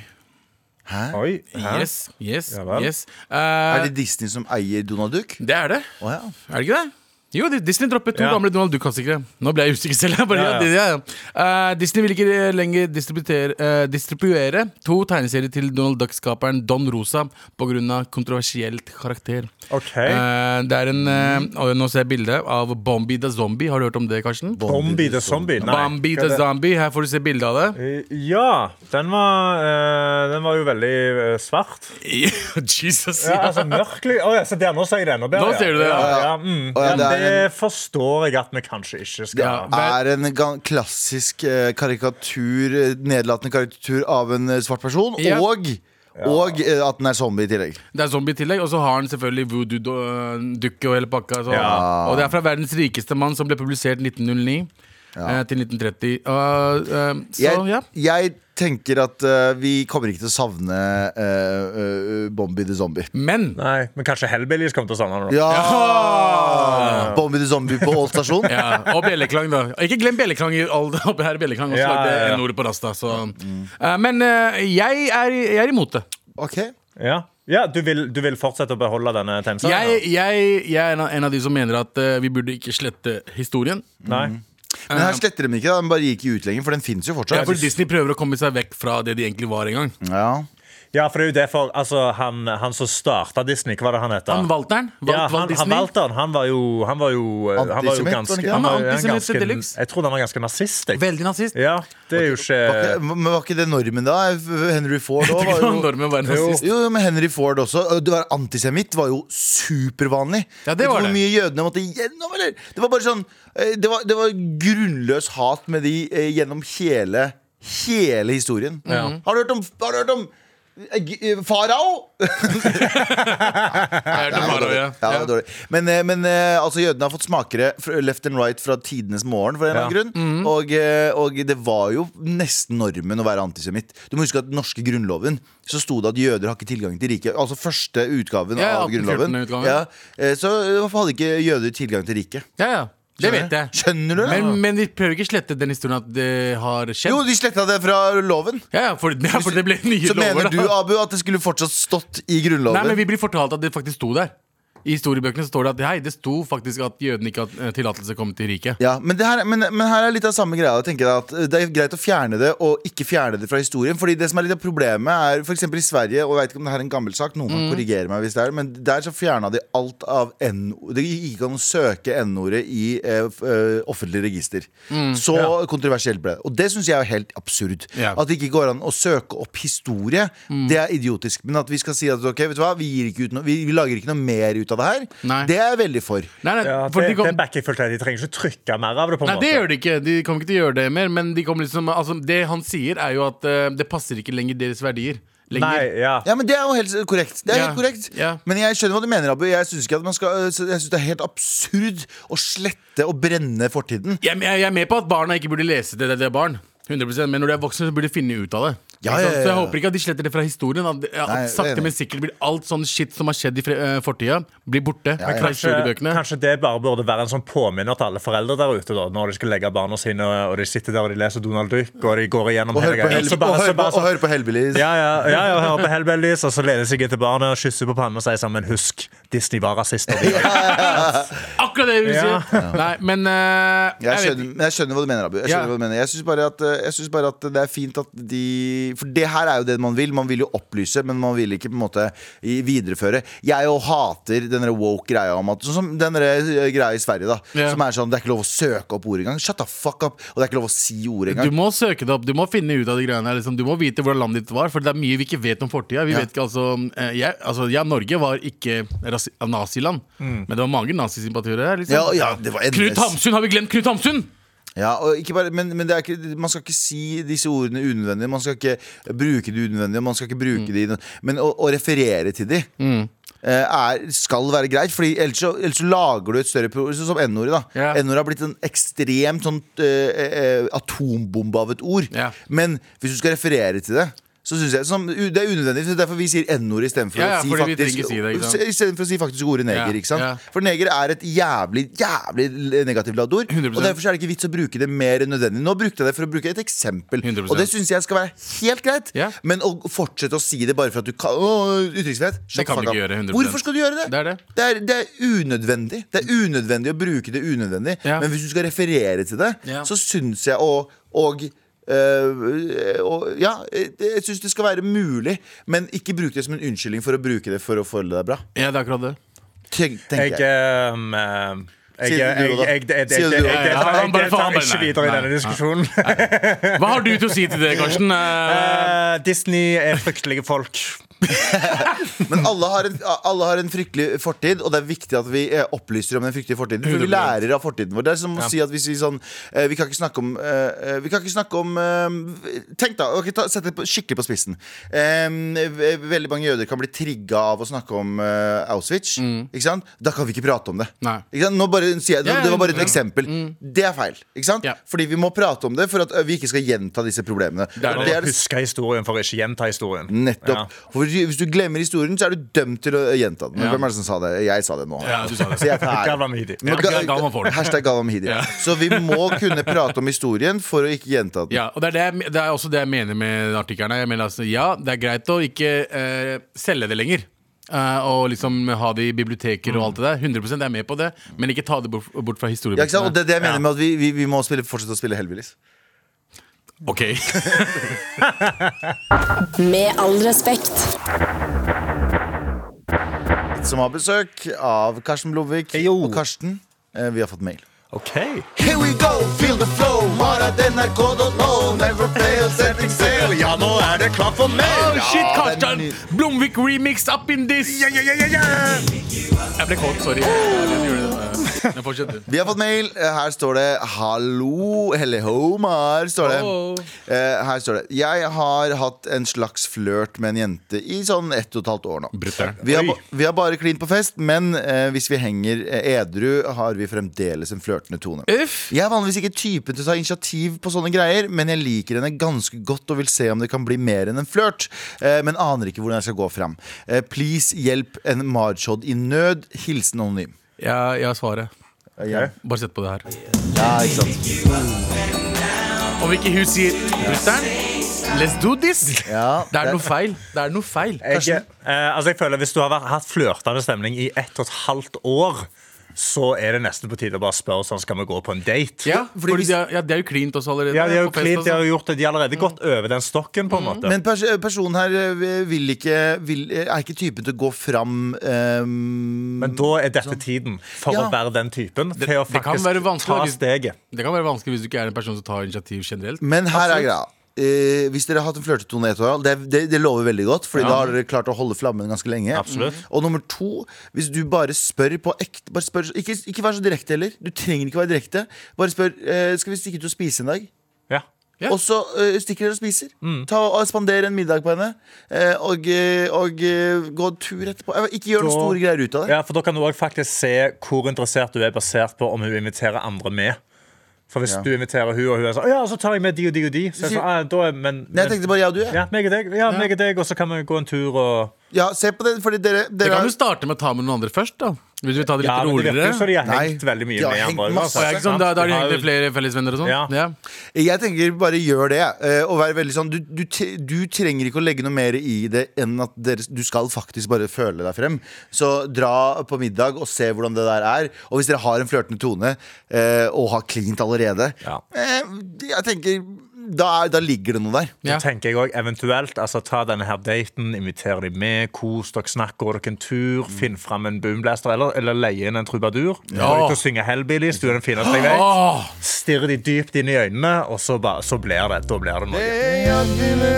S4: Oi, hæ?
S3: Yes, yes,
S4: Ja vel.
S3: yes. Eh,
S2: Er det Disney som eier Donald Duck?
S3: det er det.
S2: Å ja.
S3: Er det ikke det? Jo, Disney droppet to
S4: Ja.
S3: gamle Donald Duck-klassikere. Nå ble jeg usikker selv. jeg Bare, ja,
S4: Ja, ja.
S3: ja. Eh, Disney vil ikke lenger distributere, eh, distribuere to tegneserier til Donald Duck-skaperen Don Rosa pga. kontroversielt karakter.
S4: Ok.
S3: Eh, det er en eh, og Nå ser jeg bilde av Bombi the Zombie. Har du hørt om det, Karsten?
S4: Bombi the Zombie. Nei.
S3: Bombi the Zombie. Her får du se bilde av det.
S4: Eh, Ja, den var, eh, den var jo veldig eh, svart.
S3: Jesus.
S4: Ja, altså mørklig Å ja, se der, nå ser jeg det enda bedre.
S3: Nå ser du det, ja.
S4: ja, ja, mm.
S2: Å, ja,
S4: ja
S2: det er
S4: Det forstår jeg at vi kanskje ikke skal
S3: Ja.
S2: Det er en ga- klassisk eh, karikatur, eh, nedlatende karikatur av en eh, svart person.
S3: Ja.
S2: Og, og eh, at den er zombie i tillegg.
S3: Det er zombie i tillegg, og så har han selvfølgelig voodoo-dukke og hele pakka. Så.
S4: Ja.
S3: Og det er fra verdens rikeste mann, som ble publisert 1909 eh, til 1930. Og, eh, så
S2: Jeg,
S3: ja.
S2: jeg tenker at eh, vi kommer ikke til å savne eh, eh, Bombi the Zombie.
S3: Men
S4: Nei, men kanskje Hellbillies kommer til å savne det. nå.
S2: Ja! Bombi the Zombie på Ål stasjon.
S3: ja, Og bjelleklang, da. Ikke glem bjelleklang. i all- Oppe her i bjelleklang også
S4: Ja,
S3: lagde
S4: ja, Mm. ja.
S3: en ord på Rasta. Så. Eh, men eh, jeg, er, jeg er imot det.
S2: Ok
S4: Ja, ja du, vil, du vil fortsette å beholde denne
S3: Jeg,
S4: tegneserien?
S3: jeg, jeg er en av- en av de som mener at eh, vi burde ikke slette historien.
S4: ja? Nei.
S2: Men her sletter de ikke, da. den bare gikk ikke ut lenger, for den finnes jo
S3: Um, Ja,
S2: fortsatt.
S3: for Disney prøver å komme seg vekk fra det de egentlig var en gang.
S2: Ja.
S4: Ja, for det er jo derfor altså, han, han som starta Disney, hva var det han het? da?
S3: Han Walteren. Walt,
S4: ja,
S3: Walt
S4: han, han
S3: Disney.
S4: valgte han. Han var jo, han var jo, eh, han var jo
S2: Antisemitt, var det
S4: ganske
S2: ikke?
S4: han var
S3: Han var
S4: jo en
S3: antisemitt
S4: ganske-
S3: deluxe.
S4: Jeg trodde han var ganske nazist. Jeg.
S3: Veldig nazist.
S4: Ja, det er
S2: Var
S4: jo ikke
S2: ikke, men var ikke det normen da? Henry Ford òg var jo
S3: Normen var nazist.
S2: jo, jo, men Henry Ford også. Du var Antisemitt var jo supervanlig.
S3: Ja, det
S2: Vet du
S3: var
S2: hvor
S3: det.
S2: mye jødene måtte gjennom, eller? Det var bare sånn eh, Det var, det var grunnløs hat med de eh, gjennom hele Hele historien. Har du hørt om, har du hørt om eh, Farao?
S3: Jeg hørte bare, ja.
S2: Ja, det var dårlig. Men, eh, men eh, altså, jødene har fått smakere fra- left and right fra tidenes morgen. For en eller annen
S4: Ja.
S2: grunn
S3: Mhm.
S2: og, eh, og det var jo nesten normen å være antisemitt. Du må huske at den norske grunnloven Så sto det at jøder har ikke tilgang til riket. Altså første utgaven
S3: Ja,
S2: av grunnloven.
S3: 1814-utgaven.
S2: Ja, eh, så eh, hvorfor hadde ikke jøder tilgang til riket?
S3: ja, ja. Det vet jeg.
S2: Skjønner du? det?
S3: Men, men de prøver ikke slette den historien at det har skjedd.
S2: jo, de sletta det fra loven.
S3: ja, ja, for, ja, for det ble nye
S2: Så
S3: lover.
S2: mener du,
S3: da.
S2: Abu, at det skulle fortsatt stått i
S3: Nei,
S2: grunnloven?
S3: men Vi blir fortalt at det faktisk sto der. I historiebøkene så står det at hei, det sto faktisk at jødene ikke hadde eh, tillatelse til å komme til riket.
S2: Ja, men, det her, men, men her er litt av samme greia. Jeg tenker at eh, Det er greit å fjerne det, og ikke fjerne det fra historien. Fordi det som er litt av problemet er for eksempel i Sverige, og jeg vet ikke om det her er en gammel sak, noen kan
S3: Mm.
S2: korrigere meg hvis det er men der så fjerna de alt av N Det gikk ikke an å søke N-ordet i eh, f- eh, offentlig register.
S3: Mm.
S2: Så kontroversielt ble det. Og det syns jeg er helt absurd.
S3: Ja. Mm.
S2: At det ikke går an å søke opp historie, det er idiotisk. Men at vi skal si at ok, vet du hva, vi, gir ikke ut noe- vi, vi lager ikke noe mer ut av det her,
S3: Nei.
S2: det er jeg veldig for.
S3: Nei, nei,
S4: ja,
S3: for
S4: det,
S3: de kom,
S4: det backer jeg fullt av. De trenger ikke trykke mer av det. på en
S3: nei, det
S4: måte
S3: gjør de ikke. De kommer ikke til å gjøre det mer. Men de kommer liksom, altså, det han sier, er jo at eh, det passer ikke lenger deres verdier. Lenger.
S4: Nei, ja.
S2: Ja, men Det er jo helt korrekt. Det er
S3: Ja.
S2: helt korrekt
S3: Ja.
S2: Men jeg skjønner hva du mener, Abu. Jeg syns ikke at man skal øh, Jeg synes det er helt absurd å slette og brenne fortiden.
S3: Jeg, jeg, jeg er med på at barna ikke burde lese det, det, det er barn. 100%, men når de er voksne, så burde de finne ut av det.
S2: Ja,
S3: Ikke sant?
S2: ja, ja,
S3: Så jeg
S2: ja.
S3: håper ikke at de sletter det fra historien. At, at
S2: Nei, det
S3: sakte,
S2: er
S3: men sikkert blir alt sånn shit som har skjedd i fre- eh, fortida, blir borte. fra
S4: Kanskje,
S3: historiebøkene
S4: kanskje det bare burde være en sånn påminner til alle foreldre der ute. da Når de skal legge barna sine, og de sitter der og de leser Donald Duck og de går
S2: Og
S4: igjennom
S2: høre på,
S4: greia.
S2: hel
S4: Så bare-
S2: og høre
S4: så
S2: på,
S4: bare
S2: og
S4: sånn-
S2: høre på Hellbillies.
S4: Ja, ja, ja, ja, hører på Hellbillies, og så lener seg etter barnet og kysser på pannen og sier sammen Husk, Disney var rasister. de».
S3: Akkurat det jeg vil si!
S4: Ja.
S3: Nei, men eh,
S2: Jeg
S3: jeg vet
S2: skjønner, men jeg skjønner hva du mener, Abu. Jeg
S3: Ja.
S2: skjønner hva du mener Jeg syns bare, at, eh, jeg synes bare at det er fint at de For det her er jo det man vil. Man vil jo opplyse, men man vil ikke på en måte i- videreføre. Jeg jo hater den der woke greia om at Sånn som den der eh, greia i Sverige, da.
S3: Ja.
S2: Som er sånn det er ikke lov å søke opp ordet engang. Shut the fuck up! Og det er ikke lov å si ordet
S3: ikke.
S2: engang.
S3: Du må søke det opp, du må finne ut av de greiene her. Liksom. Du må vite hvordan landet ditt var, for det er mye vi ikke vet om fortida. Vi
S2: Ja.
S3: vet ikke, altså, eh, jeg, altså, ja, Norge var ikke rasi- naziland,
S4: Mm.
S3: men det var mange nazisympatiører her. Liksom.
S2: Ja, ja, det var endløst.
S3: Knut Hamsun! Har vi glemt Knut Hamsun?!
S2: Ja, og ikke bare, men men det er ikke, man skal ikke si disse ordene unødvendig. Man skal ikke bruke det unødvendig. Man skal ikke bruke
S3: Mm.
S2: de, unød- men å, å referere til de eh, er, skal være greit. Fordi ellers så, ellers så lager du et større problem, sånn som N-ordet. da
S3: Ja.
S2: N-ordet har blitt en ekstremt sånn eh, eh, atombombe av et ord.
S3: Ja.
S2: Men hvis du skal referere til det så synes jeg, som, det er unødvendig, så derfor vi sier N-ordet istedenfor
S3: Ja, ja,
S2: å, si
S3: fordi vi
S2: faktisk-
S3: trenger ikke si det, ikke sant?
S2: i stedet for å si faktisk ordet neger.
S3: Ja,
S2: ikke sant?
S3: ja.
S2: For neger er et jævlig jævlig negativt ladd ord.
S3: 100%.
S2: Og derfor så er det ikke vits å bruke det mer enn nødvendig. Nå brukte jeg det for å bruke et eksempel,
S3: 100%.
S2: og det syns jeg skal være helt greit.
S3: Ja.
S2: Men å fortsette å si det bare for at du kan Å, Utenriksfrihet. shut
S3: Det kan
S2: the fuck
S3: du ikke
S2: up.
S3: gjøre, 100%.
S2: Hvorfor skal du gjøre det?
S3: Det er det.
S2: Det er, det er unødvendig. Det er unødvendig å bruke det unødvendig.
S3: Ja.
S2: Men hvis du skal referere til det,
S3: Ja.
S2: så syns jeg og, og øh, og, ja, jeg syns det skal være mulig, men ikke bruke det som en unnskyldning for å bruke det for å føle deg bra.
S3: Ja, det er akkurat det.
S2: Tenk, tenker
S4: Jeg
S2: jeg.
S4: ehm, ehm, jeg-
S2: Sier du
S4: jeg-
S2: det, da?
S4: jeg- jeg- jeg-
S2: Sier du det?
S4: jeg- jeg- jeg-
S3: Ja, han bare
S4: Jeg tar
S3: faen bare
S4: ikke
S3: nei.
S4: videre i
S3: Nei.
S4: denne diskusjonen.
S3: Hva har du til å si til det, Karsten? Eh,
S4: Eh, Disney er fryktelige folk.
S2: Men alle har, en, alle har en fryktelig fortid, og det er viktig at vi eh, opplyser om den fryktelige fortiden. For vi
S3: 100%.
S2: lærer av fortiden vår. Det er som å si at vi sier sånn eh, Vi kan ikke snakke om eh, eh, Vi kan ikke snakke om eh, Tenk, da. ok, ta, Sett det på, skikkelig på spissen. Eh, ve- veldig mange jøder kan bli trigga av å snakke om eh, Auschwitz. Ikke sant? Da kan vi ikke prate om det.
S3: Mm. Nei.
S2: Ikke sant? Nå bare sier jeg,
S3: Ja, ja,
S2: det var bare et
S3: ja. Mm.
S2: eksempel. Det er feil. Ikke sant?
S3: Ja.
S2: Fordi vi må prate om det for at eh, vi ikke skal gjenta disse problemene.
S3: er
S2: Og
S3: det.
S2: det er det
S4: Huske historien for å ikke gjenta historien.
S2: Nettopp.
S4: Ja.
S2: For hvis du glemmer historien, så er du dømt til å gjenta den. Men
S3: Ja.
S2: Hvem er det som sa det? Jeg sa det nå.
S3: Ja, du sa det.
S2: Så jeg tar æren.
S4: Galvan Mehidi.
S2: Men
S3: Ja, Galvan får den.
S2: Hashtag Galvan Mehidi.
S3: Ja.
S2: Så vi må kunne prate om historien for å ikke gjenta den.
S3: Ja, og det er, det, jeg- det er også det jeg mener med artikkelen. her. Jeg mener altså, ja, det er greit å ikke eh, selge det lenger. eh, og liksom ha det i biblioteker og alt det der. 100 jeg er med på det, men ikke ta det bort, bort fra
S2: Ja, ikke sant? Og
S3: historiebøkene.
S2: det er det jeg mener med at vi, vi, vi må spille, fortsette å spille Hellbillies.
S3: Ok.
S1: Med all respekt.
S2: Som har besøk av Karsten Blomvik
S4: Heyo.
S2: og Karsten. eh, Vi har fått mail.
S4: OK.
S2: Here we go, feel the flow. Maradnrk.no, never fail, setting sail. Ja, nå er det klart for mail!
S3: Oh, shit,
S2: Ja, det er
S3: Karsten!
S2: ny-
S3: Blomvik remix up in this!
S4: Ja, ja, ja, ja, ja.
S3: Jeg ble kåt, sorry. Jeg gjorde det. Men fortsett, du.
S2: Vi har fått mail. Eh, Her står det 'Hallo, helle homar'. Står det.
S3: Hallo.
S2: Eh, Her står det 'Jeg har hatt en slags flørt med en jente i sånn ett og et halvt år nå'.
S3: Brutter'n.
S2: Vi har,
S4: Oi.
S2: ba- vi har bare klint på fest, men eh, hvis vi henger eh, edru, har vi fremdeles en flørtende tone.
S3: Uff.
S2: Jeg er vanligvis ikke typen til å ta initiativ på sånne greier, men jeg liker henne ganske godt og vil se om det kan bli mer enn en flørt. Eh, men aner ikke hvordan jeg skal gå fram. Eh, please hjelp en marchod i nød. Hilsen anonym.
S3: Jeg, jeg har svaret.
S2: Eh, ja.
S3: Bare sett på det her.
S2: ja, ikke sant.
S3: Om ikke hun sier 'brutter'n, let's do this',
S2: Ja,
S3: det er
S2: det-
S3: noe feil. Det er noe feil.
S4: Jeg, eh, altså jeg føler Hvis du har vært, hatt flørtende stemning i ett og et halvt år, så er det nesten på tide å bare spørre sånn, skal vi gå på en date.
S3: Ja,
S2: fordi
S3: fordi
S2: hvis-
S3: de har, ja, de har jo klint oss allerede.
S4: Ja, de har jo
S3: på fest
S4: klint,
S3: og
S4: de har
S3: sånn.
S4: jo gjort det, de har allerede gått over den stokken, på en måte.
S2: Men pers personen her eh, vil ikke, vil, eh, er ikke typen til å gå fram ehm,
S4: Men da er dette tiden for
S2: Ja.
S4: å være den typen. Til å
S3: det kan
S4: faktisk
S3: være vanskelig
S4: ta
S3: hvis-
S4: steget.
S3: Det kan være vanskelig hvis du ikke er en person som tar initiativ generelt.
S2: Men her er greia. Eh, hvis dere har hatt en flørtetone i ett år, det, det, det lover veldig godt. Fordi da har dere klart å holde flammen ganske lenge.
S4: Absolutt.
S2: Og nummer to, hvis du bare spør på ekte bare spør, ikke, ikke vær så direkte heller. Du trenger ikke være direkte. Bare spør eh, Skal vi stikke ut og spise en dag.
S4: Ja. Mm.
S3: Ja.
S2: Og så eh, stikker dere og spiser. Ta og Spander en middag på henne. eh, og eh, og eh, gå en tur etterpå. Eh, Ikke gjør noen
S4: Da-
S2: store greier ut av det.
S4: ja, For da kan du òg faktisk se hvor interessert du er, basert på om hun inviterer andre med. For hvis
S2: Ja.
S4: du inviterer hun og hun er sånn, «Å ja, så tar jeg med de og de og de. Så er jeg sånn, ah, da er, men,
S2: Nei, jeg tenkte bare ja og du, jeg.
S4: ja, meg og deg, ja, meg og deg, og så kan vi gå en tur og
S2: Ja, se på det, fordi dere,
S3: Det
S2: dere
S3: kan du starte med å ta med noen andre først, da. Vil du ta det litt
S4: Ja, men det virker
S3: roligere?
S4: jo som de har
S2: Nei,
S4: hengt veldig mye
S2: de har
S4: med
S2: hengt
S4: andre. altså,
S2: masse.
S3: Ja, ikke sant? Da, da har de
S4: De har-
S3: egentlig flere fellesvenner og sånn.
S4: Ja.
S3: Ja.
S2: Jeg tenker bare gjør det. eh, Og vær veldig sånn du, du, t- du trenger ikke å legge noe mer i det enn at dere, du skal faktisk bare føle deg frem. Så dra på middag og se hvordan det der er. Og hvis dere har en flørtende tone eh, og har klint allerede,
S4: Ja.
S2: eh, jeg tenker da, er- da ligger det noe der.
S4: Så
S3: Ja.
S4: tenker jeg også, eventuelt, altså Ta denne her daten, inviter dem med, kos dere, snakk, gå dere en tur. Finn fram en boomblaster eller, eller leie inn en trubadur. Ja. Og synge Hellbillies, du er den fineste jeg vet.
S3: Åh,
S4: Stirre de dypt inn i øynene, og så, bare, så blir det. Da blir det noe.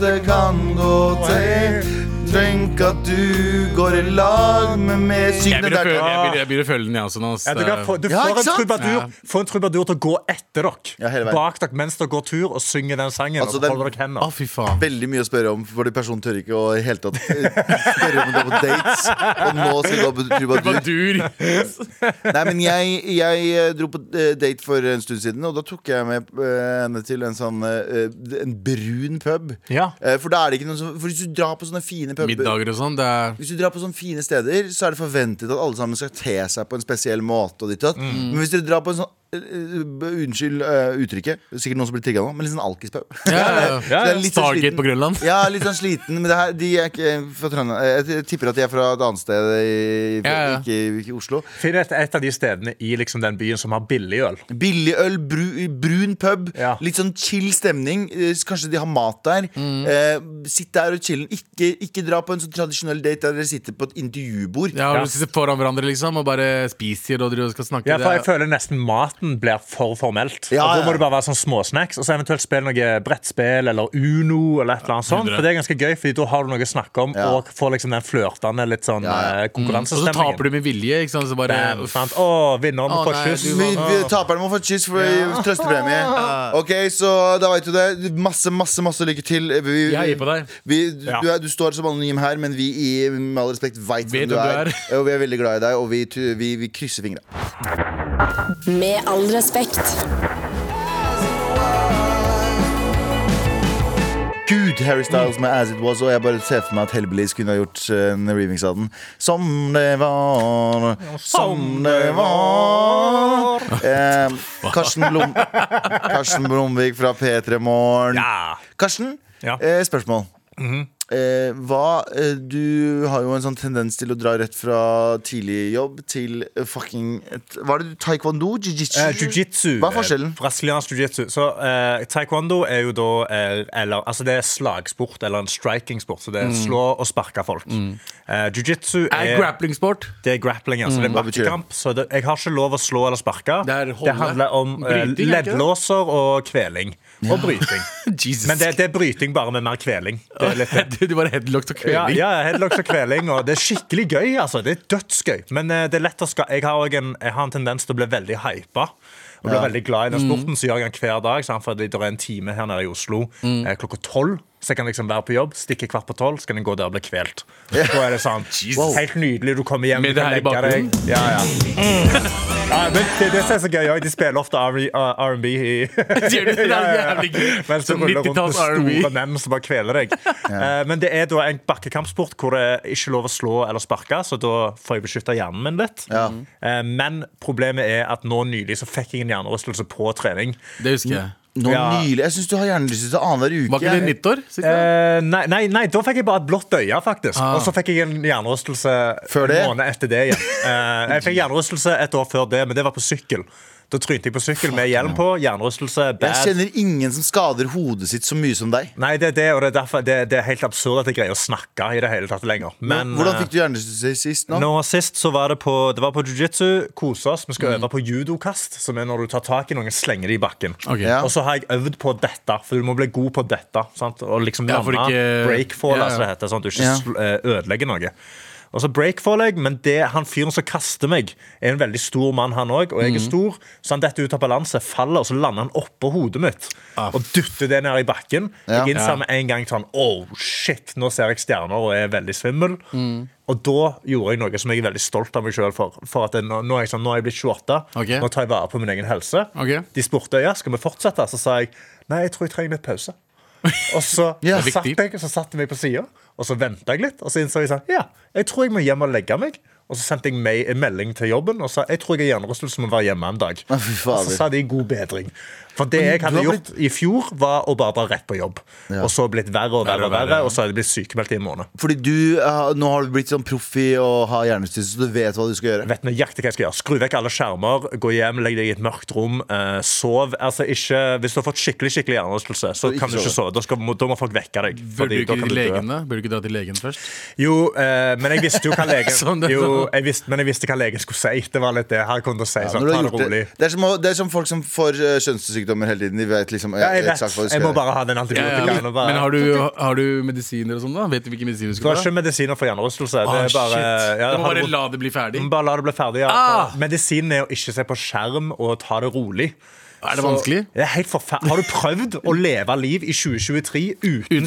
S2: det kan gå til. Tenk at du går i lag med meg.
S3: jeg, begynner å føle, jeg, begynner, jeg begynner å føle den, jeg også. nå, ass.
S4: Ja, du kan få, du
S2: Ja,
S4: får,
S2: ikke
S4: en
S2: sant?
S4: trubadur,
S3: Ja.
S4: får en trubadur til å gå etter dere.
S2: Ja, hele veien.
S4: Bak dere mens dere går tur, og synger den sangen.
S2: Altså,
S4: og
S2: den-
S4: så holder dere
S3: Å,
S4: hender.
S3: fy faen.
S2: veldig mye å spørre om, fordi personen tør ikke å i hele tatt eh, spørre om det på dates. Og nå skal jeg gå på trubadur.
S3: Trubadur.
S2: Nei, men jeg, jeg eh, dro på eh, date for en stund siden, og da tok jeg med eh, henne til en sånn eh, En brun pub.
S4: Ja.
S2: Eh, For da er det ikke noen som For hvis du drar på sånne fine puber
S3: Middager og sånn. Det er
S2: hvis du drar på sånne fine steder, så er det forventet at alle sammen skal te seg på en spesiell måte. Og ditt, og datt.
S3: Mm.
S2: Men hvis dere drar på en sånn eh, eh, b- Unnskyld eh, uttrykket, sikkert noen som blir trigga nå, men litt sånn alkispub.
S3: ja, ja, ja.
S4: Ja,
S2: Det er
S4: ja.
S2: litt sånn
S3: Stargate
S2: sliten.
S3: på Grønland.
S2: Ja, litt sånn sliten, men det her, de er ikke eh, fra Trøndelag. Jeg tipper at de er fra et annet sted, i,
S3: Ja, ja.
S2: Ikke, ikke i Oslo.
S4: Finn et, et av de stedene i liksom, den byen som har billigøl.
S2: Billig øl, bru, brun pub,
S4: Ja.
S2: litt sånn chill stemning. Eh, Kanskje de har mat der.
S3: Mm.
S2: Eh, sitt der og chill. Ikke, ikke dra på en sånn tradisjonell date der dere sitter på et intervjubord.
S3: Ja,
S4: Ja.
S3: og Du sitter foran hverandre liksom og bare spiser og driver og skal snakke.
S4: Ja,
S3: Det
S4: for
S3: er-
S4: jeg føler nesten maten maten blir for formelt.
S2: Ja,
S4: og Da
S2: ja.
S4: må det bare være sånn småsnacks, og så eventuelt spille noe brettspill eller Uno. eller et eller annet sånt,
S3: hundre.
S4: For det er ganske gøy, fordi da har du noe å snakke om,
S2: Ja.
S4: og får liksom den flørtende litt sånn
S2: Ja, ja.
S3: Mm.
S4: eh,
S3: Og så
S4: konkurransestemningen.
S3: taper du med vilje. ikke sant? Så bare,
S4: Bam,
S3: uff.
S4: sant? Å, vinneren må
S3: Å,
S4: få
S3: nei,
S4: kyss.
S3: du
S2: Vi,
S3: var-
S2: vi, taperne må få et kyss for trøstepremie. Ok, så da veit du det. Masse, masse masse lykke til. Vi,
S3: Jeg gir på deg.
S2: Vi, du,
S4: Ja.
S2: du, er, du står som anonym her, men vi i, med all respekt veit
S3: Vet
S2: hvem du er.
S3: hvem du
S2: Og vi er veldig glad i deg, og vi, tu- vi, vi krysser fingra.
S1: Med all respekt.
S2: Gud, Harry Styles med As It Was. Og jeg bare ser for meg at Hellbillies kunne ha gjort eh, en remix av den. Som det var, som det var. Eh, Karsten, Blom, Karsten Blomvik fra P3 Morgen.
S4: Ja.
S2: Karsten,
S4: Ja. Mhm.
S2: eh, spørsmål. eh, hva, eh, du har jo en sånn tendens til å dra rett fra tidlig jobb til eh, fucking et, Hva er det du Taekwondo? Jiu-jitsu?
S4: Eh, jiu-jitsu.
S2: Hva er forskjellen?
S4: Eh, brasiliansk jiu-jitsu. Så eh, Taekwondo er jo da eh, eller, Altså det er slagsport, eller en striking-sport. Så det
S2: Mm.
S4: er slå og sparke folk. Eh, jiu-jitsu
S3: Er
S4: er,
S3: grapplingsport.
S4: det er grappling. Altså, det er
S2: Mm. Hva betyr det?
S4: bakkekamp. Så det, jeg har ikke lov å slå eller sparke.
S3: Det er holde.
S4: handler om
S3: Bryting, er
S4: eh,
S3: det ikke det?
S4: leddlåser og kveling. Og bryting.
S3: Jesus.
S4: Men det, det er bryting bare med mer kveling. Det er litt det.
S3: Du bare headlocked og
S4: Ja,
S3: kveling.
S4: ja, headlocks og kveling. Og det er skikkelig gøy. altså Det er dødsgøy. Men eh, det er lett å ska jeg, har også en, jeg har en tendens til å bli veldig hypa. Og blir veldig glad i
S3: Mm.
S4: den sporten, så gjør jeg den hver dag. Sant? For det er en time her nede i Oslo
S3: Mm.
S4: eh, klokka tolv. Så jeg kan liksom være på jobb, stikke kvart på tolv, så kan jeg gå der og bli kvelt. Da er det sånn
S3: Jesus.
S4: Helt nydelig. Du kommer hjem
S3: Med
S4: du
S3: det
S4: kan
S3: her i
S4: legge deg. Ja, ja. ja men det, det som er så gøy også, De spiller ofte R&B i
S3: Sier du det? Det er jævlig gøy.
S4: Mens du
S3: Sånn
S4: ruller rundt med
S3: 90-talls R&B.
S4: store menn som bare kveler deg. Eh, Men det er da en bakkekampsport hvor det er ikke lov å slå eller sparke, så da får jeg beskytta hjernen min litt.
S2: Ja.
S4: Eh, Men problemet er at nå nylig så fikk jeg en hjernerystelse på trening.
S3: Det husker jeg.
S2: Nå
S4: Ja.
S2: nylig Jeg syns du har hjernelystelse annenhver uke.
S3: Var ikke det nyttår? sikkert?
S4: Eh, nei, nei, nei, da fikk jeg bare et blått øye, faktisk.
S3: Ah.
S4: Og så fikk jeg en hjernerystelse
S2: Før det?
S4: en måned etter det igjen. Eh, jeg fikk hjernerystelse et år før det, men det var på sykkel. Da trynte jeg på sykkel med hjelm på. Hjernerystelse,
S2: Jeg
S4: bad.
S2: kjenner ingen som skader hodet sitt så mye som deg.
S4: Nei, det er det, og det er derfor det, det er helt absurd at jeg greier å snakke i det hele tatt lenger. Men, eh,
S2: Hvordan fikk du hjernerystelse sist?
S4: Nå
S2: nå?
S4: sist så var det på, det var på jiu-jitsu. Kose oss. Vi
S2: Mm.
S4: skal øve på judokast, som er når du tar tak i noen og slenger det i bakken.
S3: Ok.
S2: Ja.
S4: Og så har jeg øvd på dette, for du må bli god på dette. Sant? Og liksom
S3: Ja,
S4: lande
S3: for ikke-
S4: breakfall,
S3: Ja, ja.
S4: altså det heter, sånn at du ikke
S2: Ja.
S4: sl- eh, ødelegger noe. Og så breakfall jeg, men det, han fyren som kaster meg, er en veldig stor mann, han òg. Og
S3: Mhm.
S4: jeg er stor, så han detter ut av balanse, faller, og så lander han oppå hodet mitt.
S3: Ah,
S4: Og dytter det ned i bakken.
S2: Ja.
S4: Jeg innser
S3: Ja.
S4: med en gang sånn Oh shit, nå ser jeg stjerner og er veldig svimmel.
S3: Mm.
S4: Og da gjorde jeg noe som jeg er veldig stolt av meg sjøl for. For at det, nå, nå, er jeg sånn, nå er jeg blitt 28,
S3: Ok.
S4: nå tar jeg vare på min egen helse.
S3: Ok.
S4: De spurte ja, skal vi fortsette, så sa jeg nei, jeg tror jeg trenger litt pause. Og så,
S2: Ja.
S4: satt, jeg, så satte jeg meg på sida og så venta jeg litt. Og så innså jeg sånn, ja, jeg tror jeg må hjem og legge meg. Og så sendte jeg meg en melding til jobben og sa jeg tror jeg har hjernerystelse må være hjemme en dag.
S2: Å, fy fader.
S4: Og så sa de god bedring. For det jeg
S2: du
S4: hadde
S2: har
S4: gjort i fjor, var å bare dra rett på jobb. Og så blitt verre og verre, og verre, og så er det blitt sykemeldt i en måned.
S2: Fordi du, eh, nå har du blitt sånn proff i å ha hjernerystelse, så du vet hva du skal gjøre.
S4: vet nøyaktig hva jeg skal gjøre. Skru vekk alle skjermer, gå hjem, legg deg i et mørkt rom, eh, sov. Altså ikke, Hvis du har fått skikkelig skikkelig hjernerystelse, så
S2: ikke
S4: kan du ikke
S2: sove.
S4: sove. Da, skal, må, da må folk vekke
S3: Burde
S4: deg.
S3: du
S4: fordi da
S3: ikke
S4: kan
S3: til
S4: dø.
S3: legen, da? Burde du ikke dra til legen først?
S4: Jo, eh, men jeg visste jo hva legen
S3: Sånn, det-
S4: jo, jeg visste, Men jeg visste hva legen skulle si. Det var litt det. Her kunne du si
S2: Når
S4: sånn,
S2: du har
S4: ta det
S2: gjort
S4: rolig.
S2: det, det, er som, å- det er som folk som får eh, kjønnssykdommer hele tiden. De vet liksom eh,
S4: Ja, jeg vet.
S2: eksakt hva de skal
S4: Jeg må
S2: gjøre.
S4: bare ha den antibiotikaen. og bare-
S3: Men har du, har du medisiner og sånn, da? Vet du hvilke medisiner du
S4: Du
S3: skal
S4: har
S3: ta?
S4: ikke medisiner for hjernerystelse. Det
S3: Ah,
S4: er bare,
S3: shit.
S4: ja, Mm,
S3: du må
S4: har du
S3: bare
S4: gått-
S3: la det bli ferdig.
S4: Bare la det bli ferdig. Ja.
S3: Ah!
S4: Medisinen er å ikke se på skjerm og ta det rolig.
S3: Er det
S4: Så-
S3: vanskelig?
S4: Det er helt forferdelig. Har du prøvd å leve liv i 2023 uten,
S3: Uten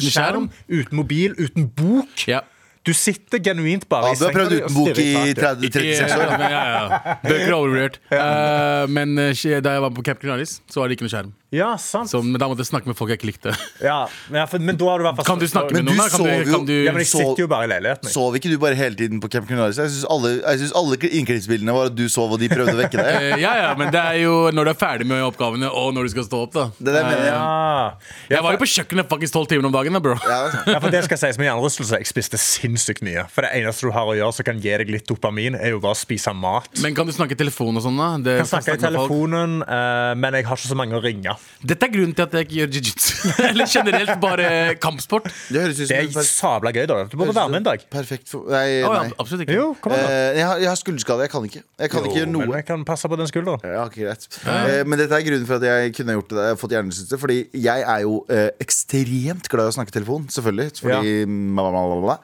S3: skjerm?
S4: skjerm, uten mobil, uten bok?
S3: Ja.
S4: Du sitter genuint bare
S2: Ja,
S4: i
S2: du har
S4: senga
S2: prøvd
S4: di og
S2: uten bok i
S4: stirrer i taket.
S2: 30, 36 år.
S3: Ja, men ja, ja. Bøker er overvurdert. Eh, men eh, skje- da jeg var på Camp Canaris, så var det ikke noe skjerm.
S4: Ja, sant.
S3: Så, men da måtte jeg snakke med folk jeg ikke likte.
S4: Ja, men ja, for, men da har du i hvert fall
S3: Kan du snakke
S2: Men
S3: med
S2: du
S3: noen? da? Kan
S2: sover
S3: du,
S2: jo-
S3: kan du,
S4: Ja, men jeg
S2: Så-
S4: sitter jo bare i leiligheten. jeg.
S2: Sov ikke du bare hele tiden på Camp Canaris? Jeg syns alle, jeg synes alle innklippsbildene var at du sov, og de prøvde å vekke deg.
S3: Eh, ja, ja, men det er jo når du er ferdig med oppgavene, og når du skal stå opp, da.
S2: Det der mener jeg.
S4: Ja. Ja,
S3: Jeg var jo
S4: for,
S3: på kjøkkenet faktisk tolv timer om dagen, da, bro.
S2: Ja.
S4: Ah. ja, for det skal sies med hjernerystelse. Jeg spiste sinnssykt mye. For det eneste du har å gjøre som kan gi deg litt dopamin, er jo bare å spise mat.
S3: Men kan du snakke i telefon og sånn, da? Det-
S4: Jeg kan snakke i
S3: med folk.
S4: telefonen, eh, men jeg har ikke så mange å ringe.
S3: Dette er grunnen til at jeg ikke gjør jiu-jitsu. Eller generelt bare kampsport. Å,
S2: Det høres ut
S4: Det
S2: som en
S4: er
S2: perf-
S4: sabla gøy, da. Du må være med en dag.
S2: perfekt for... Nei,
S3: ja,
S2: nei.
S3: absolutt ikke.
S4: Jo, kom igjen, da.
S2: Eh, jeg, har, jeg har skulderskade. Jeg kan ikke Jeg kan ikke gjøre
S4: Men
S2: noe.
S4: jeg kan passe på den skulderen.
S2: Ja, ok, greit. Eh, men dette er grunnen for at jeg kunne gjort det, fått hjernesynse. Fordi jeg er jo eh, ekstremt glad i å snakke telefon, selvfølgelig. Fordi ma, ma, ma, ma, ma.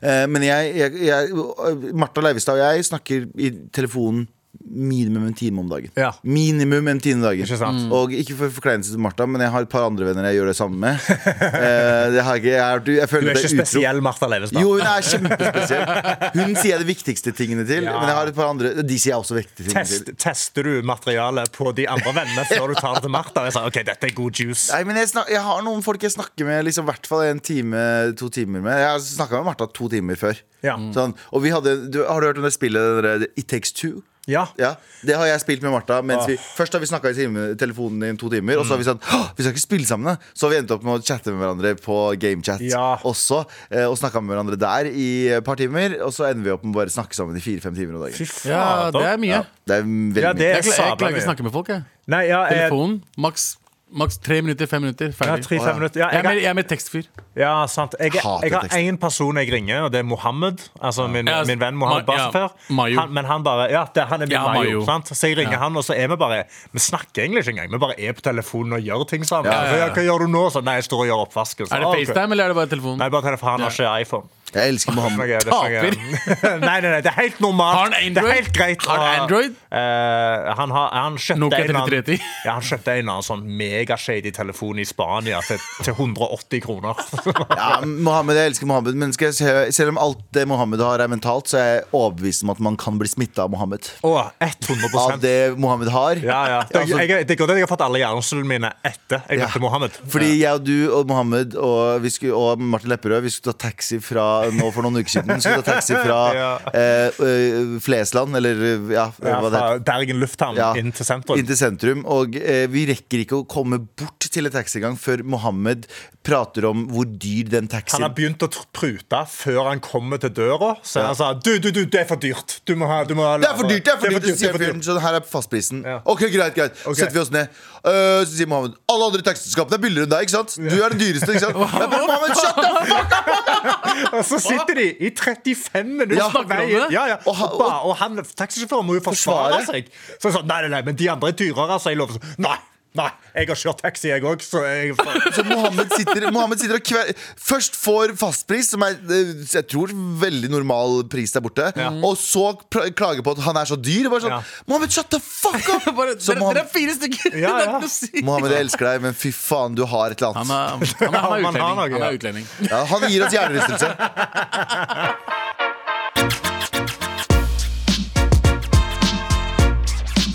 S2: Eh, Men jeg, jeg, jeg Martha Leivestad og jeg snakker i telefonen minimum en time om dagen.
S4: Ja.
S2: Minimum en time om dagen.
S4: Ikke sant?
S2: Mm. Og ikke for forkleinelse til Martha, men jeg har et par andre venner jeg gjør det samme med. Eh, det har jeg ikke, jeg, er- du, jeg
S4: Du
S2: føler
S4: er
S2: det
S4: ikke
S2: er utro.
S4: spesiell, Martha Leivestad.
S2: Jo, hun er kjempespesiell. Hun sier jeg de viktigste tingene til.
S4: Ja.
S2: Men jeg har et par andre De sier jeg også viktige tingene til.
S4: Test, tester du materialet på de andre vennene før du tar det til Martha? Jeg sa, ok, dette er god juice
S2: Nei, men jeg, snak, jeg har noen folk jeg snakker med liksom, hvert fall en time, to timer med. Jeg snakka med Martha to timer før.
S4: Ja.
S2: Sånn, og vi hadde, du, har du hørt om det spillet det der, It Takes Two?
S4: Ja.
S2: Ja, Det har jeg spilt med Martha. Mens
S4: Åh.
S2: vi, først har vi snakka i time- telefonen i to timer, og så
S4: Mm.
S2: har vi sagt «Åh, vi skal ikke spille sammen. da!» Så har vi endt opp med å chatte med hverandre på GameChat
S4: Ja.
S2: også. eh, Og snakka med hverandre der i et par timer, og så ender vi opp med å bare snakke sammen i fire-fem timer om dagen.
S4: Fy
S3: Ja, det
S4: fader.
S3: er mye.
S2: Det er veldig
S4: Ja, det
S2: mye.
S4: er
S3: Jeg, kla- jeg
S4: sabla
S3: klarer ikke
S4: mye.
S3: å snakke med folk. jeg
S4: Nei, ja, jeg-
S3: Telefonen, maks, maks tre minutter, fem minutter,
S4: ja,
S3: ferdig.
S4: tre-fem minutter. Ja,
S3: jeg, er mer,
S4: jeg,
S3: jeg er mer tekstfyr.
S4: ja, sant. Jeg, jeg
S2: Hater
S4: har
S2: tekster.
S4: én person jeg ringer, og det er Mohammed. Altså min,
S3: Ja,
S4: min venn Mohammed
S3: Ma- ja,
S4: Basfer.
S3: Mayo.
S4: Han, men han bare Ja, det, han er min
S3: Ja,
S4: Mayo.
S3: Mayo.
S4: Sant? Så jeg ringer han, og så er vi bare Vi snakker egentlig ikke engang. Vi bare er på telefonen og gjør ting sammen.
S3: Ja, ja, ja.
S4: Så, Hva gjør du nå? Så, nei, jeg står og gjør oppvasken. Så,
S3: Er det
S4: «Ah, ok.»
S3: FaceTime eller er det bare telefon?
S4: Nei, bare telefon. Han har ikke iPhone.
S2: Jeg elsker Mohammed.
S4: Det er noe- det er noe- nei, nei, nei, det er helt normalt.
S3: Har han Android?
S4: Det er helt greit.
S3: Har han
S4: Og,
S3: Android?
S4: eh, han, har, han kjøpte
S3: Nokia
S4: en eller annen-
S3: 3310.
S4: Ja, han kjøpte en eller annen sånn megashady telefon i Spania til, til 180 kroner.
S2: Ja, Mohammed, Jeg elsker Mohammed, men skal jeg se, selv om alt det Mohammed har, er mentalt, så er jeg overbevist om at man kan bli smitta av Mohammed.
S4: Å,
S2: Av
S4: 100
S2: det Mohammed har.
S4: ja, ja. Det,
S2: Altså,
S4: jeg, det er godt at jeg har fått alle hjernecellene mine etter jeg
S2: ja.
S4: møtte Mohammed.
S2: Fordi jeg og du og Mohammed og, vi skulle, og Martin Lepperød Vi skulle ta taxi fra nå for noen uker siden. Skulle ta taxi fra
S4: Ja.
S2: eh, eh, Flesland, eller ja,
S4: Ja,
S2: hva det heter.
S4: fra Bergen lufthavn
S2: Ja.
S4: inn til sentrum.
S2: Inn til sentrum, og eh, vi rekker ikke å komme bort til en taxigang før Mohammed prater om hvor dyr den
S4: han
S2: taxien
S4: har begynt å tr- prute før han kommer til døra. Så han sa du, du, du, det er for dyrt. Du må ha, du må ha
S2: Det er for
S4: lavere.
S2: dyrt, det er for dyrt,
S4: det er
S2: sier
S4: for dyrt.
S2: fyren. Så her er fastprisen.
S4: Ja.
S2: Ok, greit, greit.
S4: Ok.
S2: Setter vi oss ned. Øh, så sier Mohammed alle andre taxiselskapene er billigere enn deg, ikke sant? Du er den dyreste, ikke sant? Jeg bare, Mohammed, shut the fuck up!
S4: Og så sitter de i 35 minutter
S2: Ja,
S4: på
S3: snakker
S4: vei
S3: om
S4: inn.
S3: det?
S4: Ja, ja.
S2: Og
S4: Og,
S2: ha-
S4: ba, og han taxisjåføren må jo forsvare
S2: Forsvare?
S4: seg. Så sånn, nei, nei, nei, men de andre er dyrere, så jeg lover sånn. Nei, nei, jeg har kjørt taxi, jeg òg, så jeg
S2: Så Mohammed sitter, Mohammed sitter og kver... Først får fastpris, som er øh, jeg tror veldig normal pris der borte, og så pra- klager på at han er så dyr. Bare sånn,
S4: Ja.
S2: Mohammed, shut the fuck up!
S3: Bare,
S2: Så
S3: dere, dere er
S2: Mohammed,
S3: fire stykker! Det
S4: Ja,
S3: er
S4: ja.
S3: ikke noe å si.
S2: Mohammed, jeg elsker deg, men fy faen, du har et eller
S3: Han
S2: annet.
S3: er, han er, han er
S4: Han har
S3: utlending. Han
S4: noe, ja.
S3: er utlending.
S2: Ja, han gir oss hjernerystelse.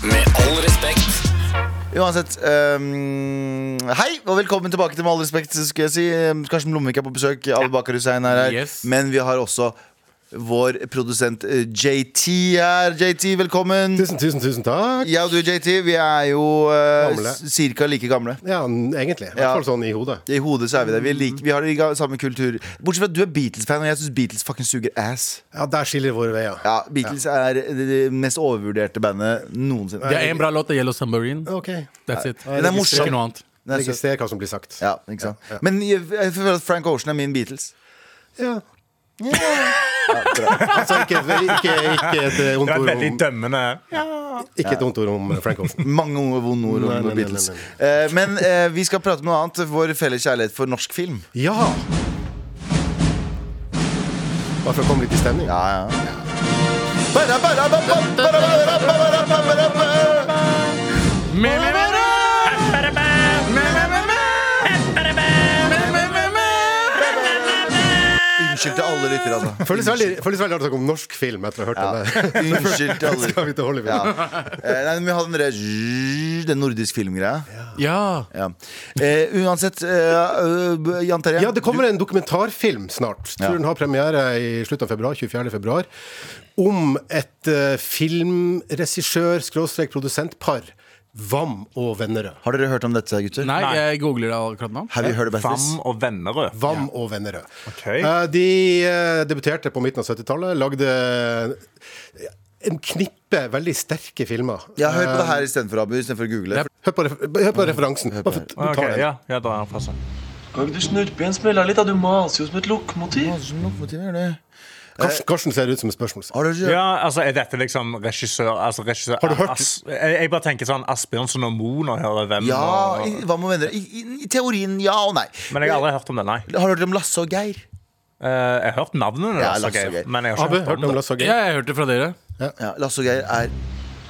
S5: Med all respekt.
S2: Uansett, ehm, hei og velkommen tilbake til Med all respekt. Skal jeg si Ehm, Karsten Blomvik er på besøk. Abu Bakar Hussein er her.
S3: Yes.
S2: Men vi har også vår produsent eh, JT her. JT, velkommen.
S6: Tusen, tusen, tusen takk.
S2: Jeg og du, JT, vi er jo uh,
S6: Gamle.
S2: ca. like gamle.
S6: Ja, n- egentlig. I
S2: Ja.
S6: hvert fall sånn i hodet.
S2: I hodet så er vi det. Vi, er like, vi har de ga- samme kultur. Bortsett fra at du er Beatles-fan, og jeg syns Beatles fucking suger ass.
S6: Ja, Der skiller våre veier.
S2: Ja, Beatles er det det mest overvurderte bandet noensinne.
S3: Det er en bra låt, det er 'Yellow Submarine'.
S6: Ok,
S3: That's it.
S2: Den er morsom.
S3: Ikke noe annet.
S2: Nei, så-
S6: Registrer hva som blir sagt.
S2: ja, ikke sant? Men jeg, jeg føler at Frank Ocean er min Beatles.
S6: Ja.
S2: Ja, bra.
S6: Altså, ikke, ikke, ikke, et eh,
S4: Det
S6: ondt
S4: var
S6: ord
S4: et veldig
S6: om,
S4: dømmende
S6: ikke et ondt ord om eh, Frank Olsen.
S2: Mange ord- vonde ord
S6: Nei,
S2: om
S6: nei, nei,
S2: Beatles.
S6: nei,
S2: Eh, Men eh, vi skal prate om noe annet. Vår felles kjærlighet for norsk film.
S6: Ja! Bare for å komme litt i stemning.
S2: Ja, ja. Bara, bara, ba, ba, bara, bara, bara, bara, bara, bara.
S3: Me, me, me, me.
S2: Unnskyld til alle lyttere, altså.
S6: Føles veldig, føles veldig rart å snakke om norsk film etter å ha hørt den der.
S2: Unnskyld til alle
S6: Skal vi
S2: lyttere.
S6: til Hollywood?
S2: Ja. Eh, Nei, men vi hadde den derre Den nordisk filmgreia.
S3: Ja.
S2: Ja. Eh, uansett, eh, øh, Jan Terje.
S6: Ja, det kommer en dokumentarfilm snart.
S2: Ja.
S6: Tror den har premiere i slutten av februar, 24. februar. Om et eh, filmregissør-produsentpar. Vam og Vennerød.
S2: Har dere hørt om dette, gutter?
S3: Nei, jeg googler det akkurat nå.
S2: Have you heard about
S4: Fam
S2: this?
S4: og Vennerød.
S6: Vam og Vennerød.
S4: Ok.
S6: Eh, de eh, debuterte på midten av 70-tallet, lagde en knippe veldig sterke filmer. Eh,
S2: Ja, hør på det her istedenfor, Abu. Istedenfor å google.
S6: Hør på, refer hør på referansen. Bare for- ta
S4: Ok,
S6: den.
S4: ja, ja, da er han passet.
S7: Kan ikke du snuppe igjen spille litt? da? Du maser jo som et lokomotiv.
S6: Karsten, Karsten ser ut som et spørsmål.
S2: Har du ikke
S4: Ja, altså Er dette liksom regissør, altså regissør
S6: Har du hørt?
S4: As, jeg, jeg bare tenker sånn Asbjørnsen og Moe når jeg hører hvem.
S2: Ja, i,
S4: og,
S2: hva med venner? I, i, I teorien ja og nei. Eh,
S4: men jeg har aldri hørt om det, nei.
S2: Har du hørt om Lasse og Geir?
S4: Eh, jeg har hørt navnene,
S2: Ja,
S4: deres,
S2: Lasse og
S4: ok,
S2: Geir.
S4: men jeg har
S6: Abu,
S4: ikke hørt
S6: hørte
S4: om
S6: om
S4: det.
S6: Lasse og
S3: Ja,
S6: Geir?
S3: jeg hørte fra dere.
S2: Ja, Lasse og Geir er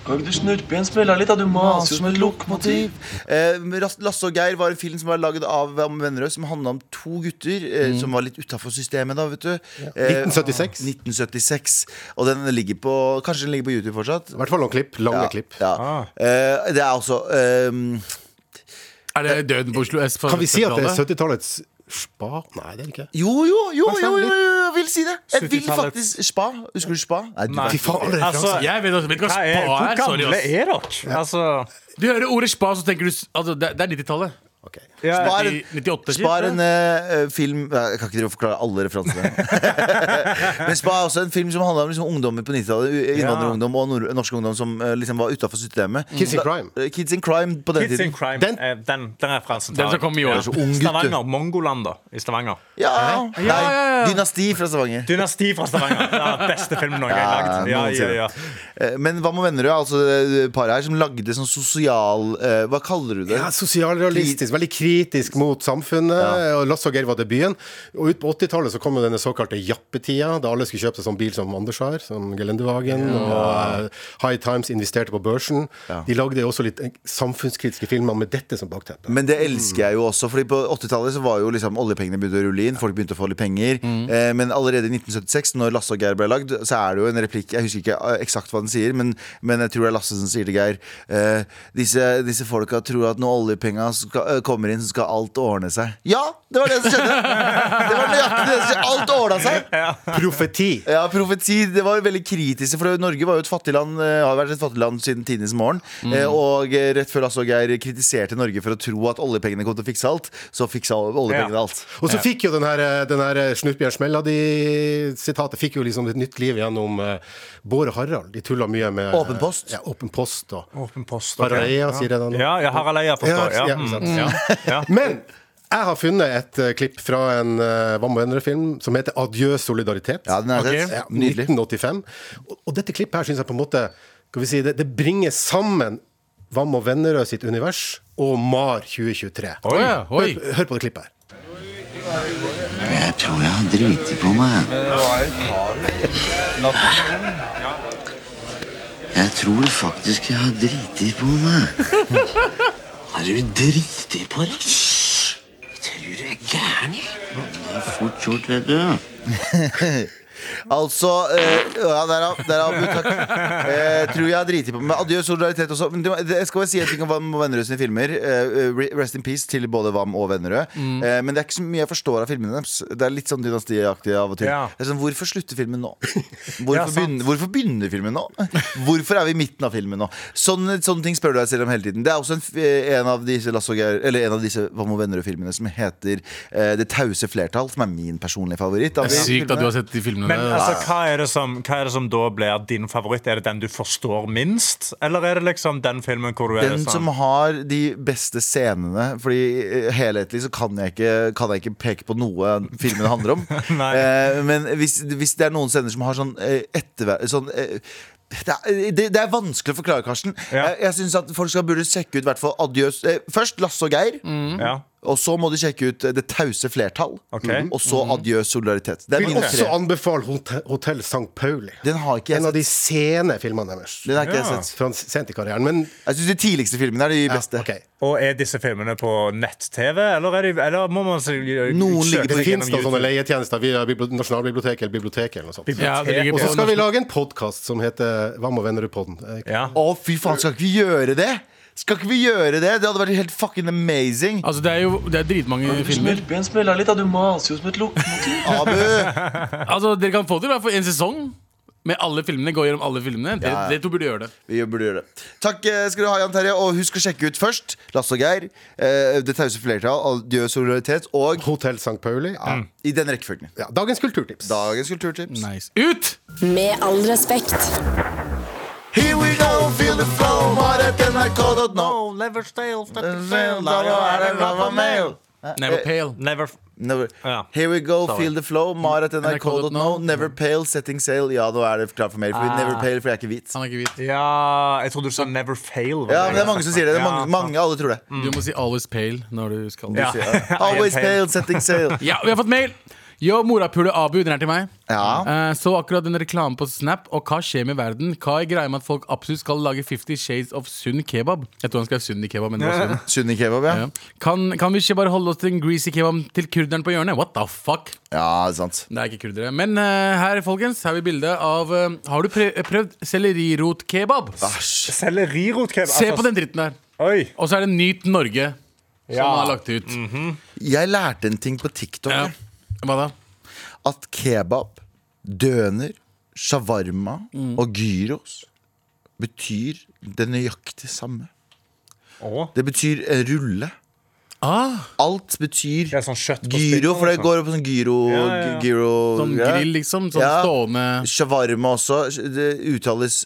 S7: Kan ikke du snuppe igjen spille litt? da? Du maser jo som et lokomotiv.
S2: Eh, Ras- Lasse og Geir var en film som var laget av Vam Vennerød, som handla om to gutter eh,
S7: Mm.
S2: som var litt utafor systemet da, vet du. Eh,
S6: 1976.
S2: 1976. Og den ligger på Kanskje den ligger på YouTube fortsatt?
S6: I hvert fall noen klipp. Lange klipp.
S2: Ja.
S4: Ah.
S2: Eh, det er altså eh,
S3: Er det Døden på Oslo S?
S6: Kan vi si at det er 70-tallets spa? Nei, det er det ikke.
S2: jo, jo, jo, jo, jo, jo, jeg vil si det! Jeg vil
S4: 70-tallet.
S2: faktisk Spa. Husker du Spa? Nei, du,
S4: Nei.
S6: Fy faen, alle
S4: Altså,
S6: referanser.
S3: Jeg vet, også- vet ikke hva
S4: hva er,
S3: spa
S4: hvor
S3: er. Sorry,
S4: gamle
S3: ass.
S4: er dere? Altså,
S3: Du hører ordet spa, så tenker du s- altså, Det, det er 90-tallet.
S6: Ok.
S4: ja,
S2: Spa er en,
S3: 98,
S2: Spa er
S3: ikke?
S2: en eh, film Jeg kan ikke drive og forklare alle referansene. Men Spa er også en film som handler om liksom, ungdommer på 90-tallet. u- Innvandrerungdom og nor norsk ungdom som eh, liksom, var utafor systemet.
S6: Kids in
S2: Da-
S6: Crime.
S2: eh, Kids in Crime på den
S4: Kids in
S2: tiden.
S4: Crime.
S6: Den-
S4: Den, den, den referansen
S3: Den som kom i år.
S2: Så ung gutte.
S4: Stavanger. Mongoland, da. I Stavanger.
S2: Ja,
S3: Ja, ja,
S2: Nei,
S3: ja.
S2: Dynasti fra Stavanger.
S4: Dynasti fra Stavanger. Ja, beste filmen noen gang lagd. Ja, ja, ja.
S2: Eh, Men hva med Vennerød? Altså eh, paret her som lagde sånn sosial eh, Hva kaller du det?
S6: Ja, Sosialrealistisk, veldig kritisk mot samfunnet. og Lasse og Geir var debuten. Og ut på 80-tallet så kom jo denne såkalte jappetida, da alle skulle kjøpe seg sånn bil som Anders har, som Geländewagen. Og eh, High Times investerte på børsen. De lagde jo også litt eh, samfunnskritiske filmer med dette som bakteppe.
S2: Men det elsker jeg jo også, Fordi på 80-tallet så var jo liksom oljepengene begynte å rulle inn. Folk begynte å få litt penger. Eh, men allerede i 1976, når Lasse og Geir ble lagd, så er det jo en replikk Jeg husker ikke eh, eksakt hva den sier, men, men jeg tror det er Lasse som sier til Geir. Eh, disse, disse folka tror at når oljepenga skal, eh, kommer inn, så skal alt ordne seg. Ja, det var det som skjedde! Det var nøyaktig det som skjedde. Alt ordna seg!
S6: Profeti!
S2: Ja, profeti, det var veldig kritisk For Norge var jo et fattig land eh, Har vært et fattig land siden tidens morgen Eh, Og eh, rett før Lasse og Geir kritiserte Norge For å tro at oljepengene kom til å fikse alt Så fiksa oljepengene
S4: Ja.
S2: alt
S6: Og så fikk jo den her, eh, den her Snurpbjørns Melody-sitatet fikk jo liksom et nytt liv gjennom eh, Bård og Harald. De tulla mye med eh,
S2: Åpen post.
S6: Ja, åpen post og
S4: Åpen post. ok.
S6: Harald Eia, sier jeg da nå.
S4: Ja, ja, Harald Eia, forstår
S6: Ja,
S4: jeg.
S6: ja,
S4: Ja.
S6: sant.
S4: Mm, ja, ja.
S6: Men jeg har funnet et eh, klipp fra en uh, Vam og Endre-film som heter 'Adjø solidaritet'.
S2: Ja, den er
S3: Ok.
S2: rett.
S6: Ja,
S2: Nydelig
S6: 1985. Og, og dette klippet her syns jeg på en måte skal vi si, det, det bringer sammen Vam og Vennerød sitt univers og MAR 2023.
S3: Oi, oi.
S6: Hør, hør på det klippet her.
S8: Jeg tror jeg har driti på meg. Jeg tror faktisk jeg har driti på meg. Har du driti på deg? Hysj! Jeg tror du er gæren, jeg. Det er fort gjort, vet du.
S2: Altså, eh, ja, der er der er Abu, takk eh, Tror jeg har driti på meg Adjø solidaritet også Men det, det jeg skal bare si en ting om Vam og Vennerød sine filmer eh, re- Rest in peace til både Vam og Vennerød
S3: Mm.
S2: eh, Men det er ikke så mye jeg forstår av filmene deres Det er litt sånn dynastiaktig av og til
S4: Ja.
S2: Det er sånn, Hvorfor slutter filmen nå? Hvorfor,
S4: Ja, sant.
S2: begynner, hvorfor begynner filmen nå? Hvorfor er vi i midten av filmen nå? Sånne, sånne ting spør du deg selv om hele tiden Det er også en, f- eh, en av disse Lasse og Geir- Eller en av disse Vam og Vennerød-filmene Som heter eh, Det tause flertall Som er min personlige favoritt av
S3: Det er
S2: de
S3: sykt at du har sett de filmene.
S4: Men
S3: der.
S4: altså, hva, er det som, hva er det som da blir din favoritt? Er det den du forstår minst? Eller er det liksom den filmen hvor du er
S2: Den som
S4: sånn
S2: har de beste scenene Fordi eh, helhetlig så kan jeg ikke, kan jeg ikke peke på noe filmen handler om
S4: Nei.
S2: Eh, Men hvis, hvis det er noen scener som har sånn eh, ettervær... Sånn, eh, det er, det, det er vanskelig å forklare, Karsten.
S4: Ja.
S2: Jeg, jeg synes at Folk skal burde sjekke ut hvertfall Adjøs eh, Først Lasse og Geir,
S6: Mm.
S4: ja.
S2: og så må de sjekke ut eh, Det tause flertall.
S4: Ok. Mm.
S2: Og så Adjø solidaritet. Det er
S6: Vil
S2: mine
S6: også
S2: tre.
S6: anbefale Hotel, Hotel St. Pauli.
S2: Den har ikke jeg
S6: En av
S2: sett.
S6: de sene filmene deres.
S2: Den har ikke
S4: Ja.
S2: jeg sett.
S6: Fra sent i karrieren, men
S2: Jeg syns de tidligste filmene er de
S6: ja,
S2: beste.
S6: ok.
S4: Og er disse filmene på nett-TV, eller, er de, eller må man se,
S2: Noen ligger
S4: søke
S2: på- sånn,
S6: Det
S4: seg
S6: finnes
S4: gjennom
S6: da sånne
S4: YouTube?
S6: leietjenester via bibli- Nasjonalbiblioteket eller biblioteket eller noe sånt.
S3: ja, det ligger
S6: Og så
S3: på
S6: skal vi lage en podkast som heter Hva må vennerud-podden? Eh,
S4: Ja.
S2: Å, fy faen, skal ikke vi gjøre det? Skal ikke vi gjøre det? Det hadde vært helt fucking amazing.
S3: Altså, det er jo det er dritmange
S7: Du
S3: filmer.
S7: snuppe igjen spille litt? da? Du maser jo som et lokomotiv.
S2: Abu!
S3: Altså, Dere kan få det i hvert fall en sesong. Med alle filmene, Gå gjennom alle filmene. Dere, dere to burde gjøre det.
S2: Vi burde gjøre det. Takk eh, skal du ha, Jan Terje. Og husk å sjekke ut først Lasse og Geir, eh, Det tause flertall, Adjø solidaritet og
S6: Hotell St. Pauli.
S2: ja, I den rekkefølgen.
S6: Ja, dagens kulturtips.
S2: Dagens kulturtips.
S3: Nice. Ut!
S9: Med all respekt.
S2: Here we go, feel the flow. Bare at nrk.no.
S4: never stay off that
S3: Never pale.
S4: Never
S2: Never.
S4: Ja.
S2: Here we go, feel the flow. Marat
S3: NRK.no.
S2: nrk.no. Never pale, setting sail. Ja, nå er det klart for mer. Fordi never pale, for jeg er ikke hvit.
S3: Han er ikke hvit.
S4: Ja, jeg trodde du sa never fail. var
S2: Ja, men det er mange som sier det. det er
S4: Ja,
S2: mange, mange, alle tror det.
S3: Du må si always pale når du skal
S4: Ja.
S2: Always
S4: I am pale.
S2: pale, setting sail.
S3: Ja, vi har fått mail! Yo, morapule Abu, den er til meg.
S2: Ja.
S3: Eh, så akkurat en reklame på Snap, og hva skjer med verden? Hva er greia med at folk absolutt skal lage 50 Shades of sunn kebab? Jeg tror han skrev sunn i kebab, men det var sunn.
S2: Sunni kebab, ja.
S3: Ja. Kan, kan vi ikke bare holde oss til en greasy kebab til kurderen på hjørnet? What the fuck?
S2: Ja, det er sant.
S3: Det er ikke kurdere. Men eh, her, folkens, har vi bilde av eh, Har du prøv, prøvd sellerirotkebab?
S2: Æsj.
S4: Sellerirotkebab.
S3: Se
S2: Altså-
S3: på den dritten der.
S4: altså, Oi.
S3: Og så er det Nyt Norge som
S4: Ja.
S3: har lagt det ut.
S2: Mm. Jeg lærte en ting på TikTok.
S3: Ja. Hva da?
S2: At kebab, døner, shawarma
S4: Mm.
S2: og gyros betyr det nøyaktig samme.
S4: Å.
S2: Det betyr eh, rulle.
S3: Ah,
S2: Alt betyr
S4: Det er sånn kjøtt på
S2: gyro,
S4: spinner,
S2: for det
S4: liksom.
S2: går opp på sånn gyro,
S4: Ja, ja, ja.
S2: gyro
S3: sånn
S2: ja.
S3: grill, liksom. Sånn
S2: Ja.
S3: stående
S2: Shawarma også. Det uttales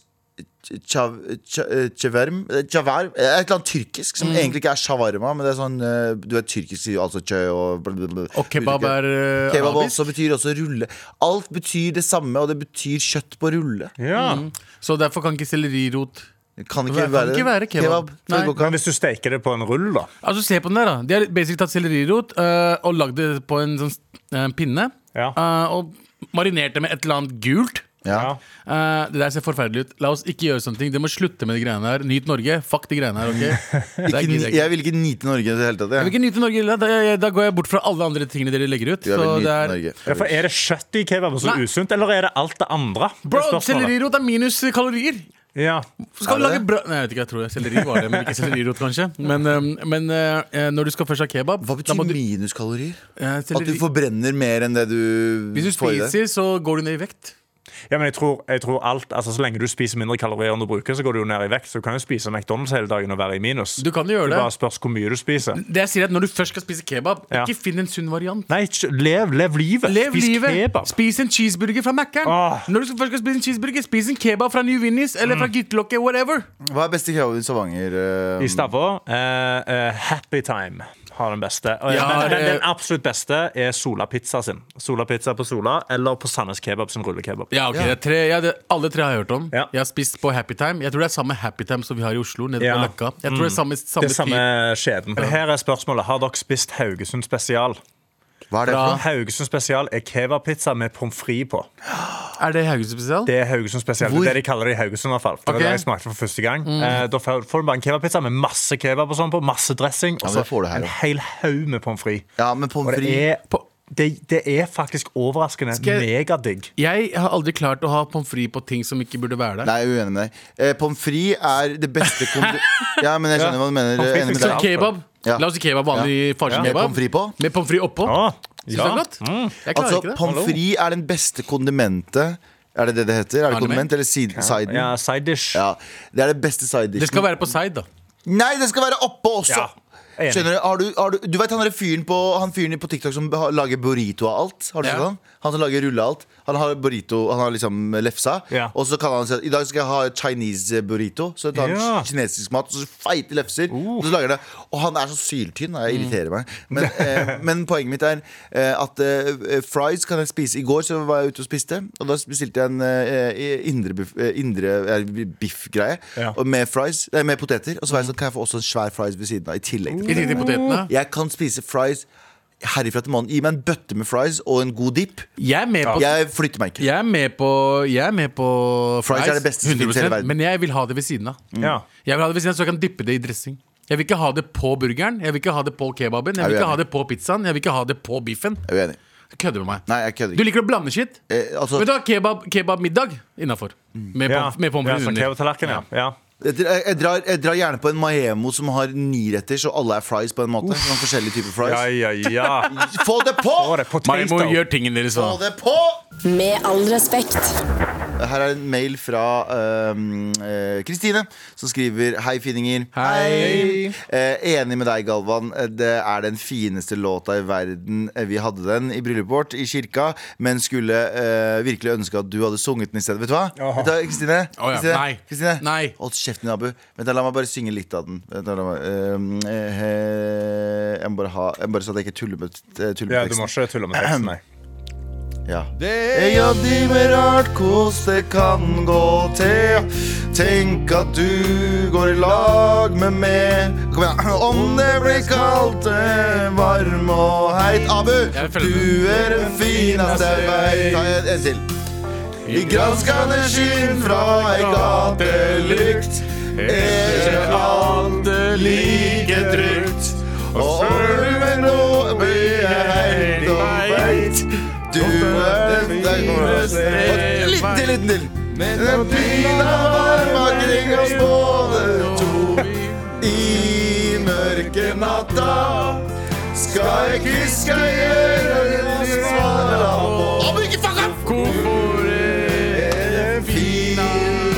S2: chav- cha- chavarm eh, chavarm, eh, Et eller annet tyrkisk
S3: Mm.
S2: som egentlig ikke er shawarma, men det er sånn eh, Du vet tyrkisk sier jo altså chø og bla, bla, bla.
S3: Og kebab er eh,
S2: Kebab
S3: arabisk.
S2: også betyr også rulle. Alt betyr det samme, og det betyr kjøtt på rulle.
S4: sånn. Ja.
S2: Mm.
S3: Så derfor kan ikke sellerirot
S2: Det kan
S3: Det
S2: ikke,
S3: kan
S2: være,
S3: ikke være kebab.
S2: for det
S3: Nei.
S2: går ikke
S4: Men hvis du steker det på en rull, da?
S3: Altså, se på den der, da. De har basically tatt sellerirot eh, og lagd det på en sånn eh, pinne.
S4: Ja.
S3: eh, og marinert det med et eller annet gult.
S2: an. Ja.
S4: Ja.
S3: Eh, det der ser forferdelig ut. La oss ikke gjøre sånne ting. Dere må slutte med de greiene her. Nyt Norge. Fuck de greiene her, OK? Det er
S2: Ikke,
S3: gidder
S2: ni-
S3: jeg ikke.
S2: jeg vil ikke nite Norge i det hele tatt.
S3: Jeg vil
S2: Jeg.
S3: ikke nyte Norge. Da, da, da går jeg bort fra alle andre tingene dere legger ut.
S2: Jeg vil
S3: Så det
S2: nyte
S3: er
S2: Norge.
S4: Ja, for Er det kjøtt i kebaben som
S3: Nei.
S4: er usunt, eller er det alt det andre? Det er
S3: Bro,
S4: spørsmålet.
S3: sellerirot er minus kalorier.
S4: Ja.
S3: Skal du
S2: Er det
S3: lage
S2: det?
S3: brød Nei, jeg vet ikke, jeg tror det. Selleri var det, men ikke sellerirot, kanskje. Men, eh, men eh, når du skal først ha kebab
S2: Hva
S3: da
S2: betyr
S3: må du-
S2: minuskalorier?
S3: Eh,
S2: At du
S3: selleri-
S2: forbrenner mer enn det du
S3: Hvis du
S2: får i deg?
S3: spiser, så går du ned i vekt.
S4: ja, men jeg tror, jeg tror alt altså, Så lenge du spiser mindre kalorier enn du bruker, så går du jo ned i vekt. Så du kan jo spise McDonald's hele dagen og være i minus.
S3: Du kan jo gjøre
S4: det
S3: det.
S4: bare spørs hvor mye du spiser.
S3: Det jeg sier er at Når du først skal spise kebab,
S4: Ja.
S3: ikke finn en sunn variant.
S4: Nei, ikke- lev, lev livet.
S3: Lev
S4: Spis
S3: livet.
S4: kebab. Ah.
S3: Spis en cheeseburger fra Mækkern.
S4: Åh.
S3: Når du skal- først skal spise en cheeseburger, spis en kebab fra New Vinnies eller
S4: Mm.
S3: fra Gittelokket. Whatever.
S2: Hva er beste kebaben i Stavanger? eh,
S4: I Stavå eh, eh, Happy Time har den beste. Og,
S3: Ja,
S4: men, men
S3: det-
S4: den absolutt beste er Sola Pizza sin. Sola Pizza på Sola eller på Sandnes Kebab sin rullekebab.
S3: Ja, ok, Det er tre, ja, det, Alle tre har jeg hørt om.
S4: Ja.
S3: Jeg har spist på Happy Time. Jeg tror det er samme Happy Time som vi har i Oslo. Nede
S4: Ja.
S3: på
S4: Mm.
S3: Løkka Jeg tror det er samme, samme,
S4: Det er samme skjeden. Her er spørsmålet. Har dere spist Haugesund spesial?
S2: Hva er det for noe?
S4: Haugesund spesial er kebabpizza med pommes frites på.
S3: typ. Er det Haugesund spesial?
S4: Det er Haugesund spesial. Det
S2: Hvor? Mm.
S4: er det de kaller det i Haugesund. i hvert fall Det var
S3: Ok.
S4: det jeg smakte for første gang eh, Da får får du bare en kebabpizza med masse kebab og sånn på, masse dressing, og
S2: men
S4: så
S2: det får du her
S4: en
S2: også.
S4: hel haug med pommes frites.
S2: Ja, men
S4: Og
S2: pommes
S4: det
S2: frites.
S4: er, det, det er faktisk overraskende
S3: Skal jeg-
S4: megadigg.
S3: Jeg har aldri klart å ha pommes frites på ting som ikke burde være der.
S2: Nei, jeg er uenig med deg. Eh, Pommes frites er det beste kondi... ja, men jeg skjønner hva du mener.
S4: Pommes frites
S2: Enig med
S3: Så
S2: deg.
S4: er ikke-
S3: kebab.
S2: Ja.
S3: La oss si kebab, vanlig
S2: Med pommes
S3: farsekebab.
S2: frites på?
S3: Med pommes frites oppå.
S4: Ah,
S3: Syns
S4: ja.
S3: du det er
S4: Mm.
S3: godt? Jeg klarer
S2: Altså,
S3: ikke det.
S2: pommes frites er den beste kondimentet. Er det det det heter? Er det
S3: Condiment?
S2: kondiment eller side, siden?
S4: Ja, side dish.
S2: Ja, Det er det beste side
S3: Det
S2: dishen.
S3: skal være på side, da.
S2: Nei, det skal være oppå også!
S4: Ja, jeg er enig.
S2: Skjønner du? Har du, har du, du vet han der fyren på, han fyren på TikTok som har- lager burrito av alt? Har du
S3: Ja.
S2: sett han? Han som lager rulle av alt. Han har burrito, han har liksom lefsa.
S4: Ja.
S2: Og så kan han si at i dag skal jeg ha Chinese burrito. Så tar han
S4: Ja.
S2: kinesisk mat, og så feite lefser. Og
S4: Uh.
S2: så lager han det Og han er så syltynn.
S4: Mm.
S2: og Jeg irriterer meg. Men, eh, men poenget mitt er eh, at eh, fries kan jeg spise. I går så var jeg ute og spiste, og da bestilte jeg en eh, indre, biff, eh, indre eh, biffgreie
S4: Ja. Mm.
S2: Og med fries, nei, med poteter. Og så var jeg sånn, kan jeg få også en svær fries ved siden av. I
S4: Uh.
S2: tillegg til
S3: I tillegg til potetene.
S2: Jeg kan spise fries herifra til månen. Gi meg en bøtte med fries og en god dip.
S3: Jeg er med på
S2: Jeg flytter meg ikke.
S3: Jeg er med på, jeg er med på
S2: Fries er det beste som finnes i hele verden.
S3: Men jeg vil ha det ved siden av.
S4: Ja.
S3: Jeg vil ha det ved siden av Så jeg kan dyppe det i dressing. Jeg vil ikke ha det på burgeren, jeg vil ikke ha det på kebaben, jeg
S2: Er
S3: vil
S2: du
S3: ikke
S2: enig?
S3: ha det på pizzaen, jeg vil ikke ha det på biffen.
S2: Jeg er uenig.
S3: Du kødder med meg.
S2: Nei, jeg kødder
S3: Du
S2: ikke.
S3: liker å blande shit.
S2: Eh, altså,
S3: Vet du hva, kebab, kebabmiddag innafor. Med
S4: Ja.
S3: pommes med pommes
S4: Ja,
S3: frites
S4: sånn
S3: under.
S4: kebabtallerken, ja. ja.
S2: jeg, jeg, drar, jeg drar gjerne på en Maemo som har niretters, og alle er fries på en måte. Sånn forskjellige typer
S4: Ja,
S2: fries.
S4: ja, ja.
S2: Få det på!
S4: Å, det er potato.
S3: Maimo gjør tingene deres
S2: Få
S3: sånn.
S2: det på!
S9: Med all respekt.
S2: Her er en mail fra eh, Kristine, som skriver Hei, finninger.
S3: Hei.
S2: Eh, enig med deg, Galvan. Eh, Det er den fineste låta i verden. Eh, Vi hadde den i bryllupet vårt i kirka, men skulle eh, virkelig ønske at du hadde sunget den i stedet. Vet du hva? Vet du hva, Kristine?
S3: Å ja,
S2: Kristine?
S3: nei.
S2: Kristine?
S3: Nei.
S2: Hold kjeften din, Abu. Vent, da, la meg bare synge litt av den. Vent, da, la meg, eh, eh, jeg må bare ha jeg må bare så at jeg ikke tuller med, eh, tuller med
S4: Ja, du
S2: teksten.
S4: må ikke tulle med teksten, nei.
S2: Ja. Ja, de med rart kos det kan gå til. Tenk at du går i lag med meg. Kom igjen. Om det blir kaldt, eh, varm og heit. Abu,
S3: Jeg følger
S2: du er den fineste jeg
S3: Jeg
S2: veit. Ta en, en til. I granskende skinn fra ei gatelykt er ikke alt like trygt. Og ulven nå blir helt opphøyt. Du er den fineste Litt til, litt til. Den byen er varm omkring oss både to. I mørke natta skal jeg kysse deg i øret og svare på Om ikke fuck opp!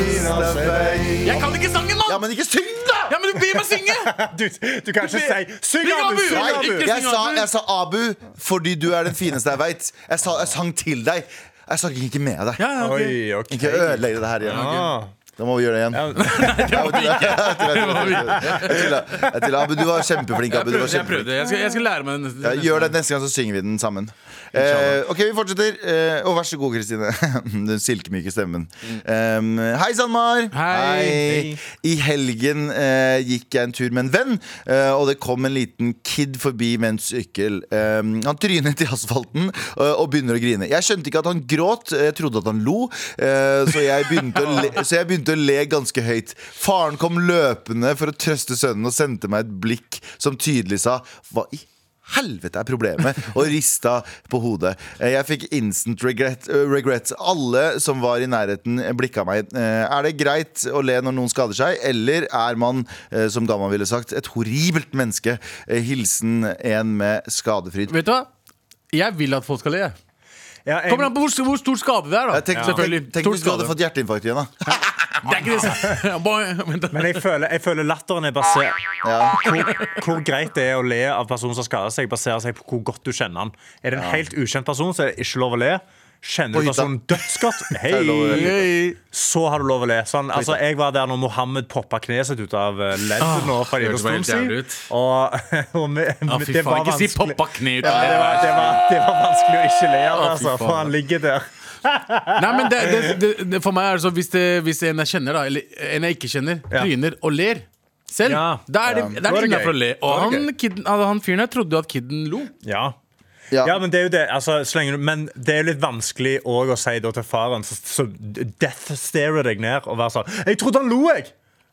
S3: Jeg kan ikke sangen, mann!
S2: Ja, men ikke syng, da!
S3: Ja, men du blir med å synge!
S4: Du, du kan ikke si Syng,
S3: Syng,
S4: Abu!
S3: Abu!
S4: Syng,
S3: Nei,
S4: Abu!
S3: ikke-
S2: Jeg sa, jeg sa Abu fordi du er den fineste jeg veit. Jeg, sa- jeg sang til deg. Jeg sang ikke med deg.
S3: Ja, ja, ok.
S4: Oi, OK.
S2: Ikke ødelegg det her igjen.
S4: Ah.
S2: Da må vi gjøre det igjen. Jeg tuller, jeg tuller, jeg tuller, jeg tuller. Jeg tuller. Abu, du var kjempeflink.
S3: Jeg
S2: Abu, du var
S3: prøvde, jeg,
S2: kjempeflink.
S3: prøvde. Jeg, skal, jeg skal lære meg den neste.
S2: Ja, gjør det neste gang, så synger vi den sammen. Eh, ok, vi fortsetter. Eh, og vær så god, Kristine. den silkemyke stemmen. Um, hei, Sandmar.
S3: Hei. Hei.
S2: I helgen eh, gikk jeg en tur med en venn, eh, og det kom en liten kid forbi med en sykkel. Um, han trynet i asfalten eh, og begynner å grine. Jeg skjønte ikke at han gråt, eh, jeg trodde at han lo, eh, så, jeg begynte å le, så jeg begynte å le ganske høyt. Faren kom løpende for å trøste sønnen og sendte meg et blikk som tydelig sa Hva i helvete er problemet? Og rista på hodet. Eh, Jeg fikk instant regret, eh, regrets. Alle som var i nærheten, blikka meg. Eh, Er det greit å le når noen skader seg, eller er man, eh, som Gamma ville sagt, et horribelt menneske? Eh, Hilsen en med skadefryd.
S3: Vet du hva? Jeg vil at folk skal le.
S4: Ja, en-
S3: Kommer an på hvor, hvor stor skade det er, da.
S2: Jeg tenkte,
S3: Selvfølgelig.
S2: Eh, tenk, tenk
S3: Stor
S2: hvis du hadde
S3: skade.
S2: fått hjerteinfarkt igjen, da.
S3: Det er ikke det samme. Boing. Vent da.
S4: Men jeg føler, jeg føler latteren er basert
S2: Ja.
S4: hvor, hvor greit det er å le av personen som skader seg, baserer seg på hvor godt du kjenner han. Er det en helt ukjent person, så er det ikke lov å le. Kjenner
S2: På
S4: du
S2: hytta.
S4: personen dødsgodt, hei,
S2: er lov å le.
S3: Hey.
S4: så har du lov å le. Sånn, altså, jeg var der når Mohammed poppa kneet sitt ut av eh, leddet nå.
S3: Ah,
S4: for en
S3: det hørtes
S4: stund
S3: helt jævlig
S4: siden.
S3: ut.
S4: Og, og vi-
S3: Ja, fy
S4: det var
S3: faen. Ikke si
S4: vanskelig-
S3: 'poppa kne' ut.
S4: Ja, det, var, det, var, det var vanskelig å ikke le av,
S3: Å, Ah, fy
S4: altså, for
S3: faen.
S4: han ligger der.
S3: Nei, men det, det, det, det, For meg er det sånn hvis, det- hvis en jeg kjenner, da eller en jeg ikke kjenner,
S4: Ja.
S3: tryner og ler selv,
S4: Ja.
S3: da er det, da
S4: Ja. Da
S3: er
S4: er
S3: det
S4: det
S3: innafor å
S4: gøy.
S3: le.
S4: Da
S3: Og
S4: er det
S3: han, kidden, altså, han fyren her trodde jo at kiden lo.
S4: Ja
S2: Ja.
S4: Ja, men det er jo det. Altså, så lenge du, men det er jo litt vanskelig også å si da til faren Så, så death starer deg ned og være sånn Jeg trodde han lo, jeg!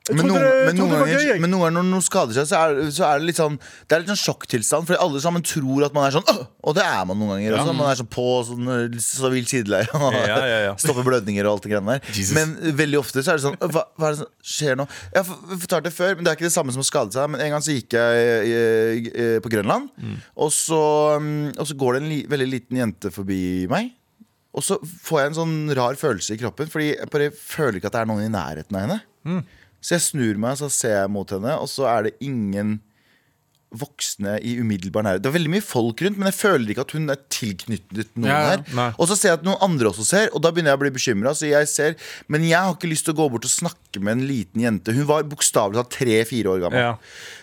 S4: jeg
S2: Men
S4: trodde
S2: noen,
S4: det-
S2: men, noen
S4: trodde det var
S2: ganger,
S4: gøy, jeg!»
S2: men noen ganger når noen skader seg, så er, så er det litt sånn Det er litt sånn sjokktilstand, fordi alle sammen tror at man er sånn «Åh!» Og det er man noen ganger også. Man er sånn på sånn, øh, så vill sideleie og
S4: Ja, ja, ja.
S2: stopper blødninger og alt det greiene der.
S3: Jesus.
S2: Men øh, veldig ofte så er det sånn «Åh, Hva, hva er det som skjer nå? Jeg har f- fortalt det før, men det er ikke det samme som å skade seg. Men en gang så gikk jeg øh, øh, på Grønland,
S4: Mm.
S2: og, så, øh, og så går det en li, veldig liten jente forbi meg. Og så får jeg en sånn rar følelse i kroppen, fordi jeg bare føler ikke at det er noen i nærheten av henne. Så jeg snur meg, så ser jeg mot henne, og så er det ingen voksne i umiddelbar nærhet. Det er veldig mye folk rundt, men jeg føler ikke at hun er tilknyttet noen
S3: Ja, ja.
S2: her.
S4: Nei.
S2: Og så ser jeg at noen andre også ser, og da begynner jeg å bli bekymra. Så jeg ser, men jeg har ikke lyst til å gå bort og snakke med en liten jente. Hun var bokstavelig talt tre-fire år gammel.
S4: Ja.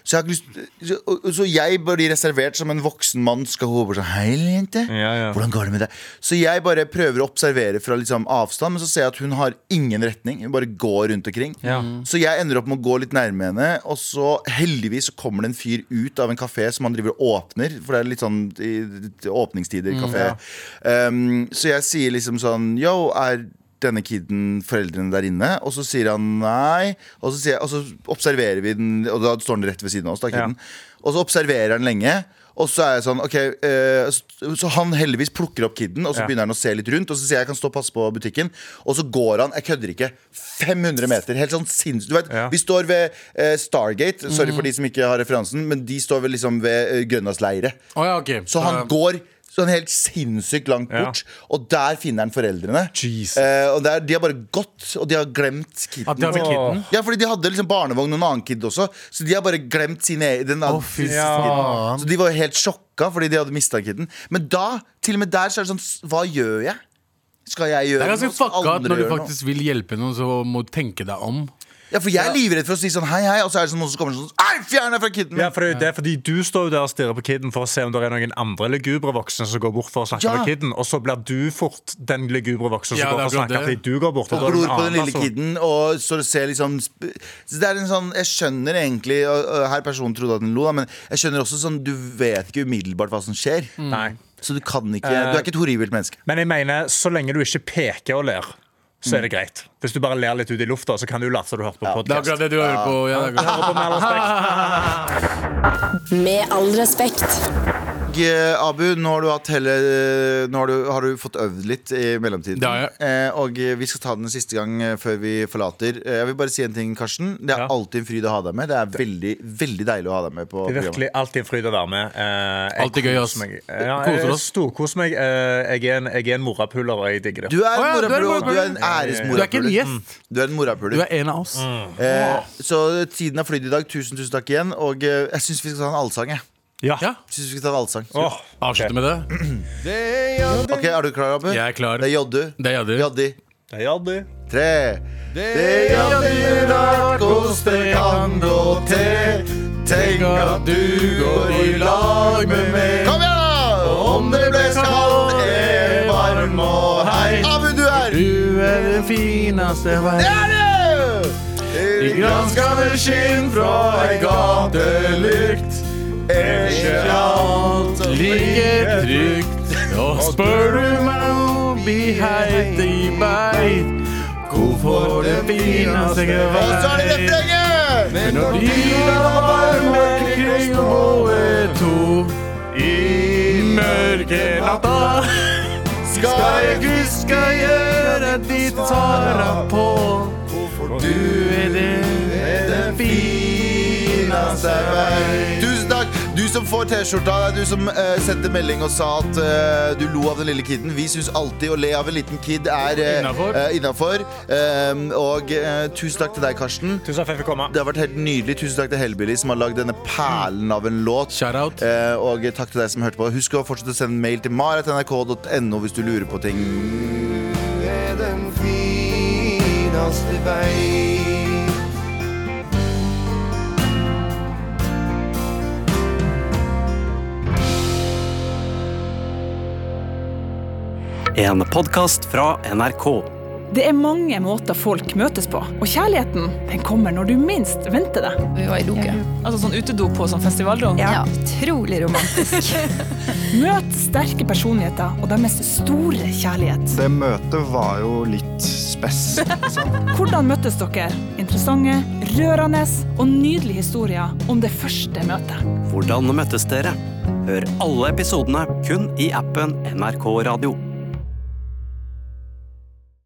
S2: Så, jeg har ikke lyst, så- og- så jeg blir reservert som en voksen mann skal gå bort og si hei, lille jente.
S4: Ja, ja.
S2: Hvordan går det med deg? Så jeg bare prøver å observere fra liksom avstand, men så ser jeg at hun har ingen retning. Hun bare går rundt omkring.
S4: Ja.
S2: Så jeg ender opp med å gå litt nærme henne, og så heldigvis så kommer det en fyr ut av en kafé som han driver og åpner, for det er litt sånn i- i- åpningstider i kafé. um, så jeg sier liksom sånn Yo, er denne kiden foreldrene der inne, og så sier han nei. Og så, sier jeg, og så observerer vi den, og da står den rett ved siden av oss. da, kiden. Og så observerer han lenge. Og så er jeg sånn, ok eh, så, så han heldigvis plukker opp kiden, og så
S4: Ja.
S2: begynner han å se litt rundt. Og så sier jeg jeg kan stå og passe på butikken. Og så går han, jeg kødder ikke, 500 meter. Helt sånn sinnssykt. Du vet,
S4: Ja. Mm.
S2: Vi står ved eh, Stargate. Sorry for de som ikke har referansen, men de står ved, liksom, ved uh, Grønlands eh, leire.
S3: Å ja, ok.
S2: Så han går Sånn helt sinnssykt langt
S4: Ja.
S2: bort. Og der finner han foreldrene.
S4: Jesus.
S2: Eh, og der, De har bare gått, og de har glemt kitten.
S3: At de har med kitten?
S2: Ja, fordi de hadde liksom barnevogn og en annen kid også, så de har bare glemt sin egen. den andre
S3: fy
S2: kiden.
S3: faen.
S2: Så de var helt sjokka fordi de hadde mista kiden. Men da, til og med der, så er det sånn s- Hva gjør jeg? Skal jeg
S3: Det
S2: gjøre
S3: er ganske
S2: Skal
S3: fucka at
S2: andre
S3: når du
S2: gjøre noe?
S3: faktisk vil hjelpe noen, så må du tenke deg om.
S2: Ja, for jeg er livredd for å si sånn hei, hei, og så er det sånn noen som kommer sånn Ei, fjern deg fra kiden!
S4: Ja,
S2: min!»
S4: for det, er jo det er fordi Du står jo der og stirrer på kiden for å se om det er noen andre lugubre voksne som går bort for å snakke
S2: Ja.
S4: med kiden, og så blir du fort den lugubre voksne som
S3: Ja, det
S4: går for å
S3: er akkurat
S4: snakke
S3: det.
S4: fordi du går bort. og
S2: Og
S4: da er det
S2: glor
S4: en
S2: på den
S4: annen
S2: lille
S4: person.
S2: kiden og så ser liksom sp- Så det er en sånn Jeg skjønner egentlig og, og Her personen trodde at den lo, da, men jeg skjønner også sånn Du vet ikke umiddelbart hva som skjer.
S3: Mm.
S4: Nei.
S2: Så du kan ikke Du
S3: Eh.
S2: er ikke et horribelt menneske.
S4: Men jeg mener, så lenge du ikke peker og ler, så
S2: Mm.
S4: er det greit. Hvis du bare ler litt ut i lufta, så kan du late som du hørte på
S3: Det er
S4: podcast
S3: akkurat det du hører på. Ja, det er akkurat.
S4: Hører på Med all respekt.
S9: Med all respekt.
S2: Og, eh, Abu, nå har du hatt hele eh, Nå har du, har du fått øvd litt i mellomtiden.
S3: Det har jeg.
S2: Eh, og eh, vi skal ta den en siste gang eh, før vi forlater. Eh, jeg vil bare si en ting, Karsten. Det er
S4: Ja.
S2: alltid en fryd å ha deg med. Det er veldig, veldig deilig å ha deg med på
S4: Det er virkelig alltid en fryd å være med. Eh, jeg
S3: Alltid gøy, ass.
S4: koser meg. Ja,
S3: Koser
S4: jeg
S3: oss.
S4: storkoser meg. Eh, jeg er en, jeg er en morapuler, og jeg digger det.
S2: Du er
S3: Å
S2: en
S3: ja, du er en
S2: morapuler. og Du er en
S3: morapuler. Du er ikke en
S2: æresmorapuler.
S3: gjest.
S2: Du er en morapuler.
S3: Du er en av oss.
S4: Mm.
S2: Eh, så tiden har flydd i dag. Tusen, tusen takk igjen. Og eh, jeg syns vi skal ta en allsang. Jeg.
S4: Ja.
S3: Ja.
S2: Jeg Synes vi skal ta en allsang
S4: Åh,
S3: Avslutte med det.
S2: Ok, Er du klar, Abu?
S3: Jeg er klar.
S2: Det er Joddu.
S3: Det er Jaddu.
S2: Joddi.
S4: det gjør du.
S2: Tre. Det gjelder narkos, det kan gå til. Tenk at du går i lag med meg. Kom igjen, da! Om det ble kaldt, er varm og hei. Abu, du er
S3: Du er den fineste
S2: Det er du! I granskende skinn fra ei gatelykt. Er ikke alt
S3: Ligger trygt. Og spør du meg om vi heit i beit, hvorfor det fineste ikke
S2: Og så er det refrenget!
S3: Men når dyra varme kring hodet to i mørke natta Skal jeg huske å gjøre ditt svara på Hvorfor du er det, er det fineste vei
S2: Tusen takk! Du som får T-skjorta, det er du som eh, sendte melding og sa at eh, du lo av den lille kiden. Vi syns alltid å le av en liten kid er eh,
S3: Innenfor.
S2: eh, innenfor. Eh, og eh, tusen takk til deg, Karsten.
S4: Tusen takk for at jeg fikk komme.
S2: Det har vært helt nydelig. Tusen takk til Hellbilly, som har lagd denne perlen av en låt.
S3: Shoutout
S2: Eh, og takk til deg som hørte på. Husk å fortsette å sende mail til maratnrk.no hvis du lurer på ting.
S10: En podkast fra NRK.
S11: Det er mange måter folk møtes på, og kjærligheten den kommer når du minst venter det.
S9: Vi var i Loke.
S11: Altså sånn utedo på sånn festivaldo.
S9: Ja, utrolig romantisk.
S11: Møt sterke personligheter og deres store kjærlighet.
S12: Det møtet var jo litt spess.
S11: Hvordan møttes dere? Interessante, rørende og nydelige historier om det første møtet.
S10: Hvordan møttes dere? Hør alle episodene kun i appen NRK Radio.